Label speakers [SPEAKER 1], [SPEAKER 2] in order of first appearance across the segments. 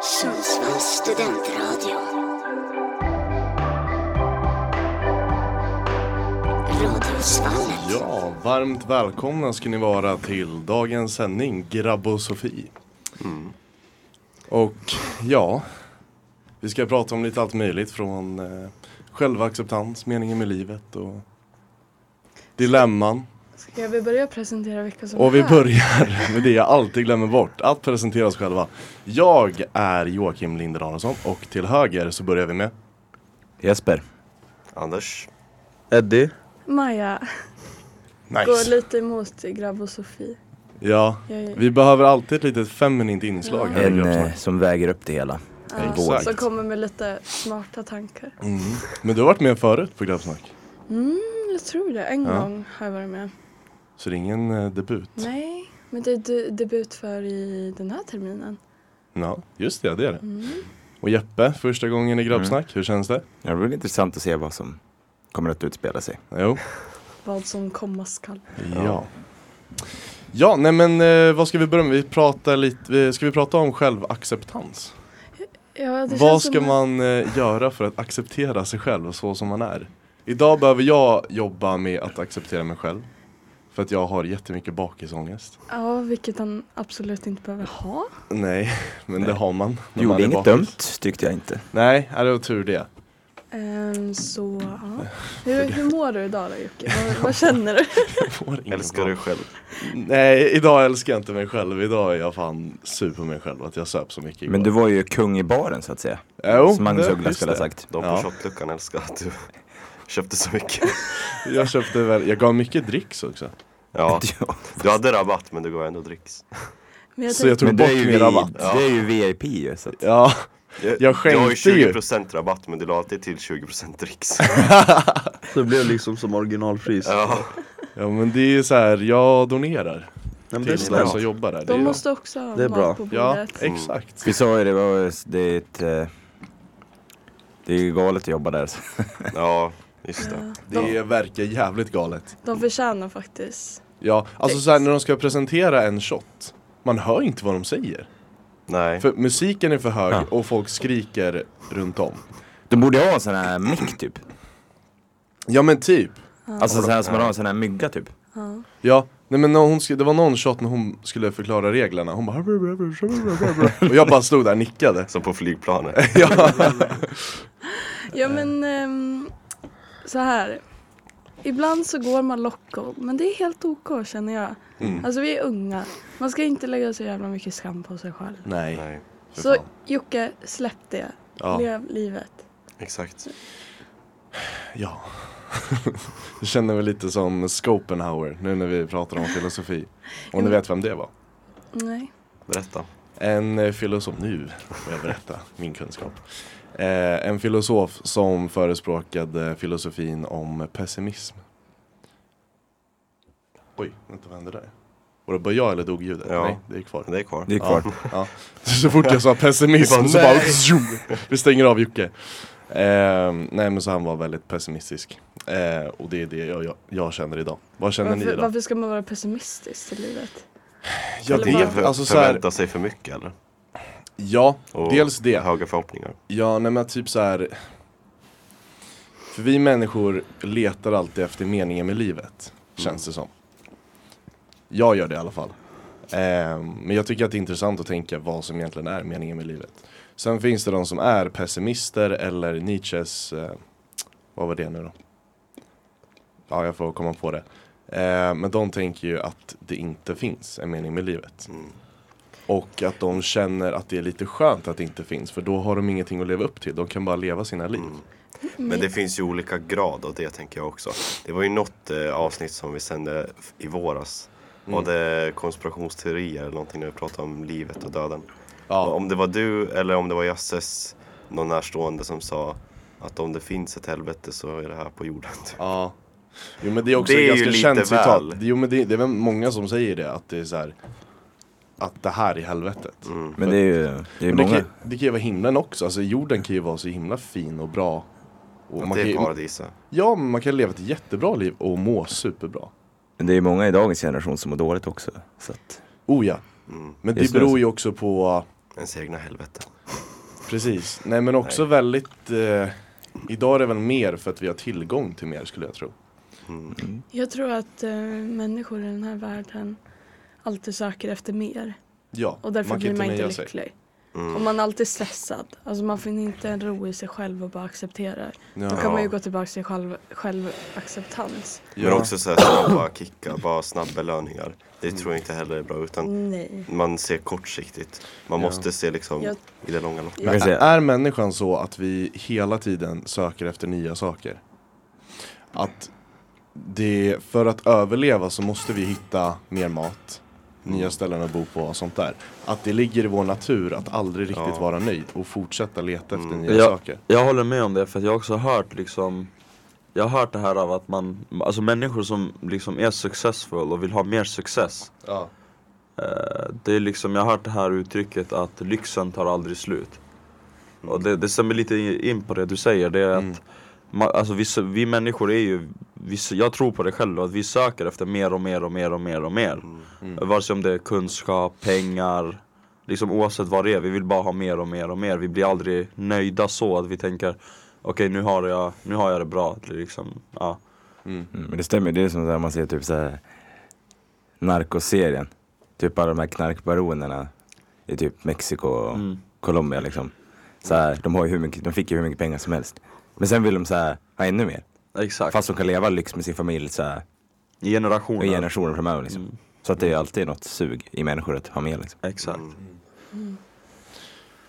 [SPEAKER 1] Sundsvalls studentradio. Radiosvallet.
[SPEAKER 2] Ja, varmt välkomna ska ni vara till dagens sändning Grabbosofi. Och ja, vi ska prata om lite allt möjligt från eh, självacceptans, meningen med livet och dilemman.
[SPEAKER 3] Ska vi börja presentera vilka som är
[SPEAKER 2] Och vi
[SPEAKER 3] här?
[SPEAKER 2] börjar med det jag alltid glömmer bort, att presentera oss själva. Jag är Joakim Linder Aronsson och till höger så börjar vi med
[SPEAKER 4] Jesper.
[SPEAKER 5] Anders.
[SPEAKER 4] Eddie.
[SPEAKER 3] Maja går lite emot grabb och Sofie.
[SPEAKER 2] Ja,
[SPEAKER 3] Jag är-
[SPEAKER 2] vi behöver alltid ett litet feminint inslag här i
[SPEAKER 4] En
[SPEAKER 2] Grabbsnack.
[SPEAKER 4] eh, som väger upp det hela.
[SPEAKER 3] Ja,
[SPEAKER 2] exakt.
[SPEAKER 3] som kommer med lite smarta tankar.
[SPEAKER 2] Mm. Men du har varit med förut på Grabbsnack?
[SPEAKER 3] Mm, Jag tror det, en
[SPEAKER 2] Ja.
[SPEAKER 3] gång har jag varit med.
[SPEAKER 2] Så det är ingen eh, debut?
[SPEAKER 3] Nej, men det är du- debut för i den här terminen.
[SPEAKER 2] Ja, just det, det är det. Och Jeppe, första gången i grabbsnack, hur känns det?
[SPEAKER 4] Ja, det blir intressant att se vad som kommer att utspela sig.
[SPEAKER 2] Jo.
[SPEAKER 3] Vad som komma skall.
[SPEAKER 2] Ja. Ja, nej men eh, vad ska vi börja med? Vi pratar lite, vi- ska vi prata om självacceptans?
[SPEAKER 3] Ja, det
[SPEAKER 2] Vad
[SPEAKER 3] känns
[SPEAKER 2] ska
[SPEAKER 3] som-
[SPEAKER 2] man eh, göra för att acceptera sig själv så som man är? Idag behöver jag jobba med att acceptera mig själv. För att jag har jättemycket bakisångest.
[SPEAKER 3] Ja, vilket han absolut inte behöver ha.
[SPEAKER 2] Nej, men det har man. när man
[SPEAKER 4] Gjorde
[SPEAKER 2] är
[SPEAKER 4] inget
[SPEAKER 2] bakis.
[SPEAKER 4] dumt tyckte jag inte.
[SPEAKER 2] Nej, ja, det var tur det.
[SPEAKER 3] Ehm, så, ja. Hur, hur mår du idag då Jocke? Vad, vad känner du?
[SPEAKER 2] Jag får inget
[SPEAKER 5] Älskar
[SPEAKER 2] bak-
[SPEAKER 5] dig själv.
[SPEAKER 2] Nej, idag älskar jag inte mig själv. Idag är jag fan sur på mig själv att jag söp så mycket igår.
[SPEAKER 4] Men du var ju kung i baren så att säga.
[SPEAKER 2] Jo,
[SPEAKER 4] som Magnus
[SPEAKER 2] det-
[SPEAKER 4] Uggla
[SPEAKER 2] just
[SPEAKER 4] skulle ha
[SPEAKER 2] det.
[SPEAKER 4] sagt.
[SPEAKER 5] De på
[SPEAKER 2] Ja.
[SPEAKER 5] shopluckan älskar att du köpte så mycket.
[SPEAKER 2] Jag köpte väl, jag gav mycket dricks också.
[SPEAKER 5] Ja,
[SPEAKER 4] Ja.
[SPEAKER 5] du hade rabatt men du gav ändå dricks.
[SPEAKER 3] Men jag
[SPEAKER 2] Så jag
[SPEAKER 3] tänkte,
[SPEAKER 2] tog
[SPEAKER 4] Men du
[SPEAKER 2] bort
[SPEAKER 4] är
[SPEAKER 2] min
[SPEAKER 4] ju,
[SPEAKER 2] rabatt.
[SPEAKER 4] vi, det är ju VIP ju. Så att,
[SPEAKER 2] Ja, Jag
[SPEAKER 5] du har ju
[SPEAKER 2] skänkte ju.
[SPEAKER 5] 20% rabatt men du la alltid till 20% dricks.
[SPEAKER 6] Det blev liksom som originalpris.
[SPEAKER 5] Ja,
[SPEAKER 2] ja men det är så här, jag donerar
[SPEAKER 6] Nej, men det
[SPEAKER 2] till
[SPEAKER 6] är
[SPEAKER 2] de
[SPEAKER 6] bra.
[SPEAKER 2] som jobbar där. Det är-
[SPEAKER 3] de måste också ha
[SPEAKER 6] Det är
[SPEAKER 3] mat
[SPEAKER 6] bra.
[SPEAKER 3] på bordet.
[SPEAKER 2] Ja, exakt.
[SPEAKER 4] vi sa ju det, var, det är ett... eh, Det är ju galet att jobba där. så.
[SPEAKER 5] ja just det.
[SPEAKER 2] Det verkar jävligt galet.
[SPEAKER 3] De förtjänar faktiskt.
[SPEAKER 2] Ja, alltså
[SPEAKER 3] Dricks.
[SPEAKER 2] så här, när de ska presentera en shot, man hör inte vad de säger.
[SPEAKER 5] Nej.
[SPEAKER 2] För musiken är för hög
[SPEAKER 4] Ja.
[SPEAKER 2] och folk skriker runt om.
[SPEAKER 4] De borde ha en sån här mick typ.
[SPEAKER 2] Ja men typ.
[SPEAKER 4] Alltså sån här som man har en sån här mygga typ.
[SPEAKER 2] Ja, nej men när hon sk- det var någon shot när hon skulle förklara reglerna, hon bara Och jag bara stod där och nickade
[SPEAKER 5] Som på flygplanet.
[SPEAKER 2] ja.
[SPEAKER 3] Ja men ehm, så här. Ibland så går man locko, men det är helt OK känner jag.
[SPEAKER 2] Mm.
[SPEAKER 3] Alltså vi är unga. Man ska inte lägga så jävla mycket skam på sig själv.
[SPEAKER 2] Nej,
[SPEAKER 5] Nej,
[SPEAKER 3] Så
[SPEAKER 2] fan.
[SPEAKER 3] Jocke, släpp det.
[SPEAKER 2] Ja.
[SPEAKER 3] Lev livet.
[SPEAKER 5] exakt.
[SPEAKER 2] ja Jag känner mig lite som Schopenhauer nu när vi pratar om filosofi Om ni vet vem det var?
[SPEAKER 3] Nej.
[SPEAKER 5] Berätta.
[SPEAKER 2] En eh, filosof, nu får jag berätta min kunskap eh, En filosof som förespråkade filosofin om pessimism Oj, vänta vad hände där? Var det bara jag eller dog ljudet?
[SPEAKER 5] Ja.
[SPEAKER 2] Nej, det är kvar
[SPEAKER 5] Det är kvar.
[SPEAKER 4] Det är kvar.
[SPEAKER 2] Ja, ja. Så fort jag sa pessimism så bara Vi stänger av Jocke eh, Nej men så han var väldigt pessimistisk eh, Och det är det jag, jag, jag känner idag Vad känner ni
[SPEAKER 3] Varför,
[SPEAKER 2] idag?
[SPEAKER 3] varför ska man vara pessimistisk i livet?
[SPEAKER 2] Jag
[SPEAKER 3] eller vad?
[SPEAKER 2] vet, alltså så här,
[SPEAKER 5] Förvänta sig för mycket eller?
[SPEAKER 2] Ja,
[SPEAKER 5] Och
[SPEAKER 2] dels det
[SPEAKER 5] Höga förhoppningar.
[SPEAKER 2] Ja nej men typ så här. För vi människor letar alltid efter meningen med livet Känns det som Jag gör det i alla fall Ehm, Men jag tycker att det är intressant att tänka vad som egentligen är meningen med livet Sen finns det de som är pessimister eller Nietzsches eh, Vad var det nu då? Ja jag får komma på det Ehm, Men de tänker ju att det inte finns en mening med livet och att de känner att det är lite skönt att det inte finns för då har de ingenting att leva upp till. De kan bara leva sina liv.
[SPEAKER 5] Mm. Men det finns ju olika grad av det tänker jag också. Det var ju något eh, avsnitt som vi sände f- i våras.
[SPEAKER 2] Mm.
[SPEAKER 5] Var det konspirationsteorier eller någonting när vi pratade om livet och döden?
[SPEAKER 2] Ja.
[SPEAKER 5] Och Om det var du eller om det var Jasses, någon närstående som sa att om det finns ett helvete så är det här på jorden. typ.
[SPEAKER 2] Ja. Jo men det är också
[SPEAKER 5] Det är
[SPEAKER 2] ett
[SPEAKER 5] ju
[SPEAKER 2] ganska känt
[SPEAKER 5] lite
[SPEAKER 2] citat.
[SPEAKER 5] väl.
[SPEAKER 2] Jo men det, det är väl många som säger det att det är så här att det här är helvetet.
[SPEAKER 5] Mm.
[SPEAKER 4] Men det är ju, det är ju
[SPEAKER 2] Men det, kan,
[SPEAKER 4] många.
[SPEAKER 2] ju- det kan ju vara himlen också, alltså jorden kan ju vara så himla fin och bra. Och
[SPEAKER 5] Att
[SPEAKER 2] man
[SPEAKER 5] det
[SPEAKER 2] kan
[SPEAKER 5] är
[SPEAKER 2] ju,
[SPEAKER 5] paradiset.
[SPEAKER 2] ja, men man kan leva ett jättebra liv och må superbra.
[SPEAKER 4] Men det är ju många i dagens generation som mår dåligt också. Så att,
[SPEAKER 5] Mm.
[SPEAKER 2] Oh ja. Men det
[SPEAKER 4] Just det.
[SPEAKER 2] beror ju också på
[SPEAKER 5] ens egna helvete.
[SPEAKER 2] Precis. Nej men också väldigt eh, Idag är det väl mer för att vi har tillgång till mer skulle jag tro.
[SPEAKER 5] Mm.
[SPEAKER 3] Jag tror att eh, människor i den här världen alltid söker efter mer.
[SPEAKER 2] Ja,
[SPEAKER 3] Och därför
[SPEAKER 2] kan
[SPEAKER 3] blir man inte
[SPEAKER 2] nöja sig.
[SPEAKER 3] lycklig.
[SPEAKER 5] Mm.
[SPEAKER 3] Och man är alltid stressad. Alltså man finner inte en ro i sig själv och bara accepterar. Då
[SPEAKER 2] Ja.
[SPEAKER 3] kan man ju gå tillbaka till själv, självacceptans.
[SPEAKER 5] Men också så här snabba kickar, bara snabba belöningar. Det
[SPEAKER 2] Mm.
[SPEAKER 5] tror jag inte heller är bra utan
[SPEAKER 3] Nej.
[SPEAKER 5] man ser kortsiktigt. Man
[SPEAKER 2] Ja.
[SPEAKER 5] måste se liksom
[SPEAKER 3] Jag-
[SPEAKER 5] i det långa loppet.
[SPEAKER 4] Man kan
[SPEAKER 2] Men
[SPEAKER 4] säga-
[SPEAKER 2] är människan så att vi hela tiden söker efter nya saker? Att det, för att överleva så måste vi hitta mer mat, nya ställen att bo på och sånt där. Att det ligger i vår natur att aldrig riktigt
[SPEAKER 5] Ja.
[SPEAKER 2] vara nöjd och fortsätta leta efter nya
[SPEAKER 6] Ja.
[SPEAKER 2] saker.
[SPEAKER 6] Jag håller med om det för att jag har också hört liksom Jag har hört det här av att man, alltså människor som liksom är successful och vill ha mer success
[SPEAKER 2] Ja.
[SPEAKER 6] eh, Det är liksom, jag har hört det här uttrycket att lyxen tar aldrig slut Och det, det stämmer lite i- in på det du säger, det är att
[SPEAKER 2] Mm.
[SPEAKER 6] ma, alltså vi, sö- vi människor är ju vi, sö- Jag tror på det själv, att vi söker efter mer och mer och mer och mer och mer
[SPEAKER 2] Mm.
[SPEAKER 6] Vare sig om det är kunskap, pengar, liksom oavsett vad det är. Vi vill bara ha mer och mer och mer. Vi blir aldrig nöjda så att vi tänker okej nu, har jag, nu har jag det bra. Eller Liksom, ja.
[SPEAKER 4] Mm, men det stämmer, ju. det är som när man ser typ såhär narkoserien. Typ alla de här knarkbaronerna i typ Mexiko och
[SPEAKER 6] Mm.
[SPEAKER 4] Colombia liksom. Så här, de, har ju hur mycket, de fick ju hur mycket pengar som helst. Men sen vill de så här, ha ännu mer.
[SPEAKER 6] Exakt.
[SPEAKER 4] Fast de kan leva lyx med sin familj så här,
[SPEAKER 6] I
[SPEAKER 4] och
[SPEAKER 6] generationer.
[SPEAKER 4] generationer framöver liksom.
[SPEAKER 6] Mm.
[SPEAKER 4] Så att det är ju alltid något sug i människor att ha med liksom.
[SPEAKER 6] Exakt.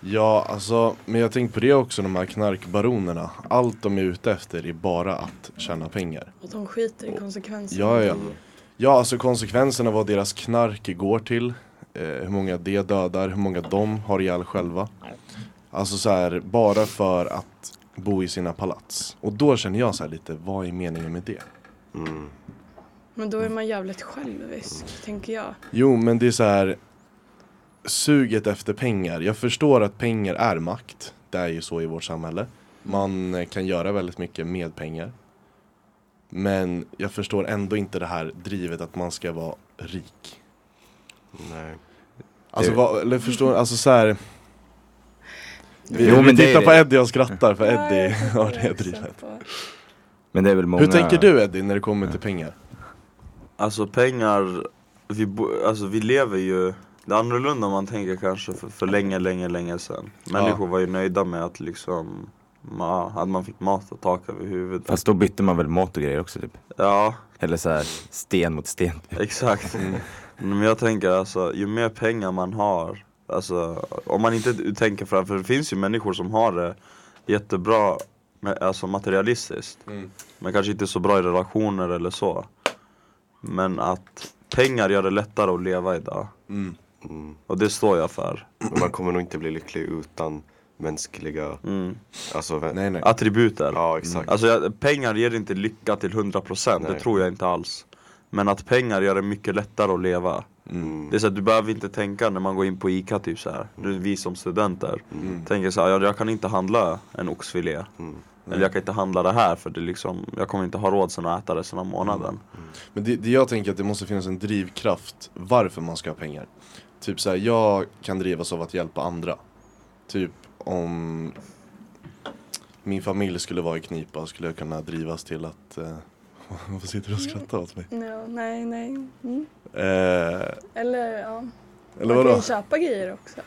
[SPEAKER 2] Ja, alltså, men jag tänkte på det också, de här knarkbaronerna. Allt de är ute efter är bara att tjäna pengar.
[SPEAKER 3] Och de skiter i konsekvenserna.
[SPEAKER 2] Ja, ja. ja, alltså konsekvenserna vad deras knark går till. Eh, hur många det dödar, hur många de har ihjäl själva. Alltså så här, bara för att bo i sina palats. Och då känner jag så här lite, vad är meningen med det?
[SPEAKER 5] Mm.
[SPEAKER 3] Men då är man jävligt självisk, tänker jag.
[SPEAKER 2] Jo, men det är så här suget efter pengar. Jag förstår att pengar är makt. Det är ju så i vårt samhälle. Man eh, kan göra väldigt mycket med pengar. Men jag förstår ändå inte det här drivet att man ska vara rik.
[SPEAKER 5] Nej.
[SPEAKER 2] Alltså,
[SPEAKER 4] Det-
[SPEAKER 2] vad, eller förstår, alltså så här. Vi,
[SPEAKER 4] Jo,
[SPEAKER 2] vi
[SPEAKER 4] men det är
[SPEAKER 2] tittar
[SPEAKER 4] det.
[SPEAKER 2] på Eddie och skrattar för
[SPEAKER 3] Ja,
[SPEAKER 2] Eddie
[SPEAKER 3] jag tänker
[SPEAKER 2] har det
[SPEAKER 3] också
[SPEAKER 2] drivet.
[SPEAKER 3] på.
[SPEAKER 4] Men det är väl många...
[SPEAKER 2] Hur tänker du Eddie när det kommer till pengar?
[SPEAKER 6] Alltså pengar, vi, bo, alltså, vi lever ju det är annorlunda om man tänker kanske för, för länge, länge, länge sedan. Människor var ju nöjda med att liksom, ma, att man fick mat och tak över huvudet.
[SPEAKER 4] Fast då bytte man väl mat och grejer också typ.
[SPEAKER 6] Ja,
[SPEAKER 4] Eller så här, sten mot sten.
[SPEAKER 6] Exakt. Men jag tänker alltså, ju mer pengar man har, alltså om man inte tänker fram, för det finns ju människor som har det jättebra med- alltså materialistiskt. Men kanske inte så bra i relationer eller så. Men att pengar gör det lättare att leva idag.
[SPEAKER 5] Mm.
[SPEAKER 6] Och det står jag för.
[SPEAKER 5] Men man kommer nog inte bli lycklig utan mänskliga,
[SPEAKER 6] Mm.
[SPEAKER 5] alltså vä-
[SPEAKER 2] Nej, nej.
[SPEAKER 6] Attributer.
[SPEAKER 5] Ja exakt.
[SPEAKER 6] Alltså jag, pengar ger inte lycka till 100%, det
[SPEAKER 5] Nej.
[SPEAKER 6] tror jag inte alls. Men att pengar gör det mycket lättare att leva.
[SPEAKER 5] Mm.
[SPEAKER 6] Det är så att du behöver inte tänka när man går in på ICA typ så här. Nu, vi som studenter tänker så här, ja, jag kan inte handla en oxfilé. Eller jag kan inte handla det här för det är liksom, jag kommer inte ha råd sen att äta resten av månaden.
[SPEAKER 2] Men det, det jag tänker att det måste finnas en drivkraft varför man ska ha pengar. Typ så här, jag kan drivas av att hjälpa andra. Typ om min familj skulle vara i knipa skulle jag kunna drivas till att eh, Varför sitter du och skrattar åt mig?
[SPEAKER 3] Ja, nej, nej. Mm.
[SPEAKER 2] Eh,
[SPEAKER 3] Eller ja,
[SPEAKER 2] eller
[SPEAKER 3] man kan ju
[SPEAKER 2] vadå?
[SPEAKER 3] köpa grejer också.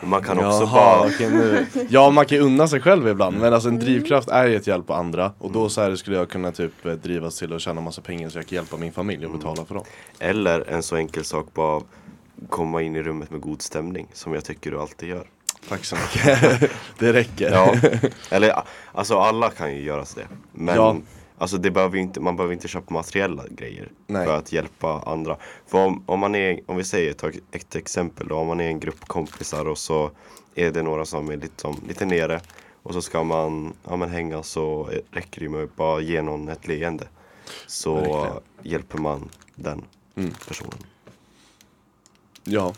[SPEAKER 5] Men man kan också
[SPEAKER 2] Jaha,
[SPEAKER 5] bara,
[SPEAKER 2] okej, nu. Ja man kan ju unna sig själv ibland men alltså en
[SPEAKER 3] Mm.
[SPEAKER 2] drivkraft är ju att hjälpa andra och
[SPEAKER 5] Mm.
[SPEAKER 2] då så här skulle jag kunna typ eh, drivas till att tjäna massa pengar så jag kan hjälpa min familj och
[SPEAKER 5] Mm.
[SPEAKER 2] betala för dem.
[SPEAKER 5] eller en så enkel sak, bara komma in i rummet med god stämning som jag tycker du alltid gör.
[SPEAKER 2] Tack så mycket. Det räcker.
[SPEAKER 5] Ja, eller alltså alla kan ju göra så det. Men
[SPEAKER 2] Ja.
[SPEAKER 5] alltså, det behöver ju inte, man behöver inte köpa materiella grejer
[SPEAKER 2] Nej.
[SPEAKER 5] för att hjälpa andra. För om, om, man är, om vi säger, ta ett exempel då, om man är en grupp kompisar och så är det några som är lite, som, lite nere och så ska man ja, men hänga så räcker det ju med att bara ge någon ett leende. Så
[SPEAKER 2] Verkligen. Mm.
[SPEAKER 5] hjälper man den personen.
[SPEAKER 2] Ja.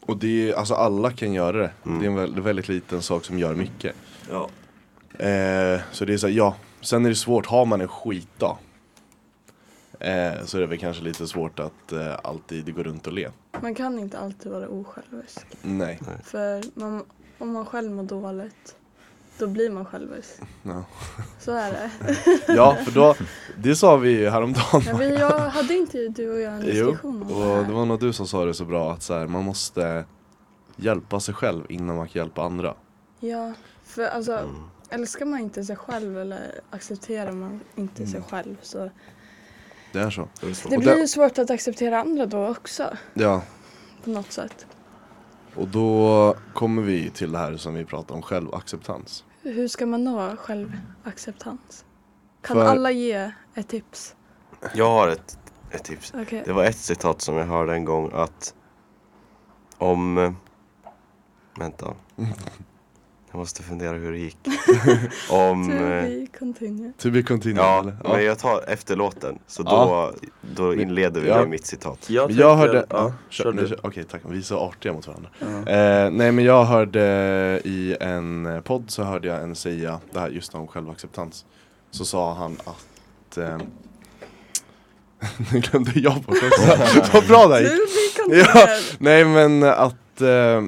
[SPEAKER 2] Och det är, alltså alla kan göra det.
[SPEAKER 3] Mm.
[SPEAKER 2] Det är en väldigt, väldigt liten sak som gör mycket.
[SPEAKER 5] Ja.
[SPEAKER 2] Eh, så det är så här, ja. Sen är det svårt, har man en skitdag. eh, så är det väl kanske lite svårt att eh, alltid gå runt och le.
[SPEAKER 3] Man kan inte alltid vara osjälvisk.
[SPEAKER 2] Nej.
[SPEAKER 3] För man, om man själv mår dåligt, då blir man självisk.
[SPEAKER 2] Ja.
[SPEAKER 3] Så är det.
[SPEAKER 2] Ja, för då, det sa vi ju häromdagen.
[SPEAKER 3] Men vi, jag, hade inte du och jag en
[SPEAKER 2] Jo,
[SPEAKER 3] diskussion om det
[SPEAKER 2] och det
[SPEAKER 3] här?
[SPEAKER 2] var nog du som sa det så bra att så här, man måste hjälpa sig själv innan man kan hjälpa andra.
[SPEAKER 3] Ja, för alltså
[SPEAKER 2] Mm.
[SPEAKER 3] älskar man inte sig själv eller accepterar man inte sig själv så
[SPEAKER 2] Mm. Det är så.
[SPEAKER 5] Det är svårt.
[SPEAKER 3] det
[SPEAKER 2] Och
[SPEAKER 3] blir
[SPEAKER 2] där-
[SPEAKER 3] ju svårt att acceptera andra då också
[SPEAKER 2] Ja,
[SPEAKER 3] på något sätt.
[SPEAKER 2] och då kommer vi till det här som vi pratade om, självacceptans.
[SPEAKER 3] Hur ska man nå självacceptans? Kan
[SPEAKER 2] För-
[SPEAKER 3] alla ge ett tips?
[SPEAKER 5] Jag har ett, ett tips.
[SPEAKER 3] Okej.
[SPEAKER 5] Det var ett citat som jag hörde en gång att om... eh, Vänta. Jag måste fundera hur det gick. om...
[SPEAKER 3] To
[SPEAKER 5] eh,
[SPEAKER 3] be continue.
[SPEAKER 2] To be continued.
[SPEAKER 5] Ja,
[SPEAKER 2] eller?
[SPEAKER 5] men jag tar efter låten. Så då,
[SPEAKER 2] Ja.
[SPEAKER 5] då inleder vi
[SPEAKER 2] Ja.
[SPEAKER 5] med mitt citat.
[SPEAKER 6] Jag,
[SPEAKER 2] Men jag
[SPEAKER 6] tänker-
[SPEAKER 2] hörde,
[SPEAKER 6] ja,
[SPEAKER 2] kör,
[SPEAKER 6] kör
[SPEAKER 2] nu,
[SPEAKER 6] du.
[SPEAKER 2] kör- okej tack, vi är så artiga mot varandra. Eh, nej men jag hörde i en podd så hörde jag en säga det här just om självacceptans. Så sa han att eh, nu glömde jag på det Vad bra det här
[SPEAKER 3] To
[SPEAKER 2] gick.
[SPEAKER 3] be
[SPEAKER 2] Ja,
[SPEAKER 3] continued.
[SPEAKER 2] nej men att eh,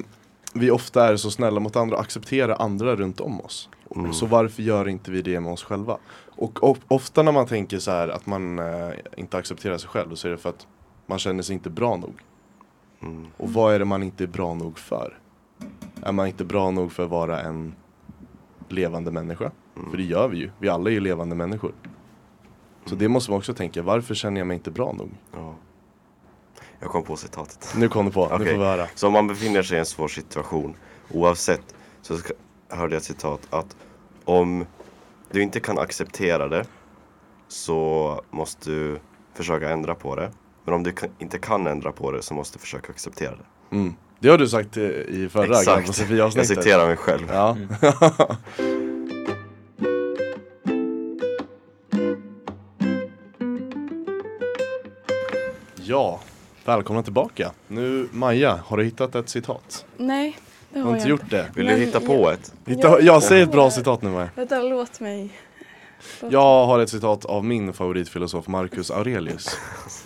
[SPEAKER 2] vi ofta är så snälla mot andra och accepterar andra runt om oss. Så varför gör inte vi det med oss själva? Och of, ofta när man tänker så här att man eh, inte accepterar sig själv så är det för att man känner sig inte bra nog. Och vad är det man inte är bra nog för? Är man inte bra nog för att vara en levande människa? För det gör vi ju, vi alla är ju levande människor. Så det måste man också tänka, varför känner jag mig inte bra nog?
[SPEAKER 5] Ja. Jag kom på citatet.
[SPEAKER 2] Nu kom det på, nu
[SPEAKER 5] Okej.
[SPEAKER 2] får vi höra.
[SPEAKER 5] Så om man befinner sig i en svår situation, oavsett, så ska, hörde jag ett citat att om du inte kan acceptera det så måste du försöka ändra på det. Men om du kan, inte kan ändra på det så måste du försöka acceptera det.
[SPEAKER 2] Mm. Det har du sagt eh, i förra Exakt.
[SPEAKER 5] Exakt.
[SPEAKER 2] Sofia
[SPEAKER 5] Jag
[SPEAKER 2] avsnittet.
[SPEAKER 5] citerar Mm. mig själv.
[SPEAKER 2] Ja. ja, välkomna tillbaka. Nu Maja, har du hittat ett citat?
[SPEAKER 3] Nej, det
[SPEAKER 2] Jag
[SPEAKER 3] har
[SPEAKER 2] har
[SPEAKER 3] jag
[SPEAKER 2] inte gjort det.
[SPEAKER 5] Vill du
[SPEAKER 3] Men
[SPEAKER 5] hitta på
[SPEAKER 3] jag-
[SPEAKER 5] ett?
[SPEAKER 2] Hitta, ja, säg ett bra
[SPEAKER 3] jag-
[SPEAKER 2] citat nu Maja.
[SPEAKER 3] Vänta, låt mig.
[SPEAKER 2] Jag har ett citat av min favoritfilosof Marcus Aurelius.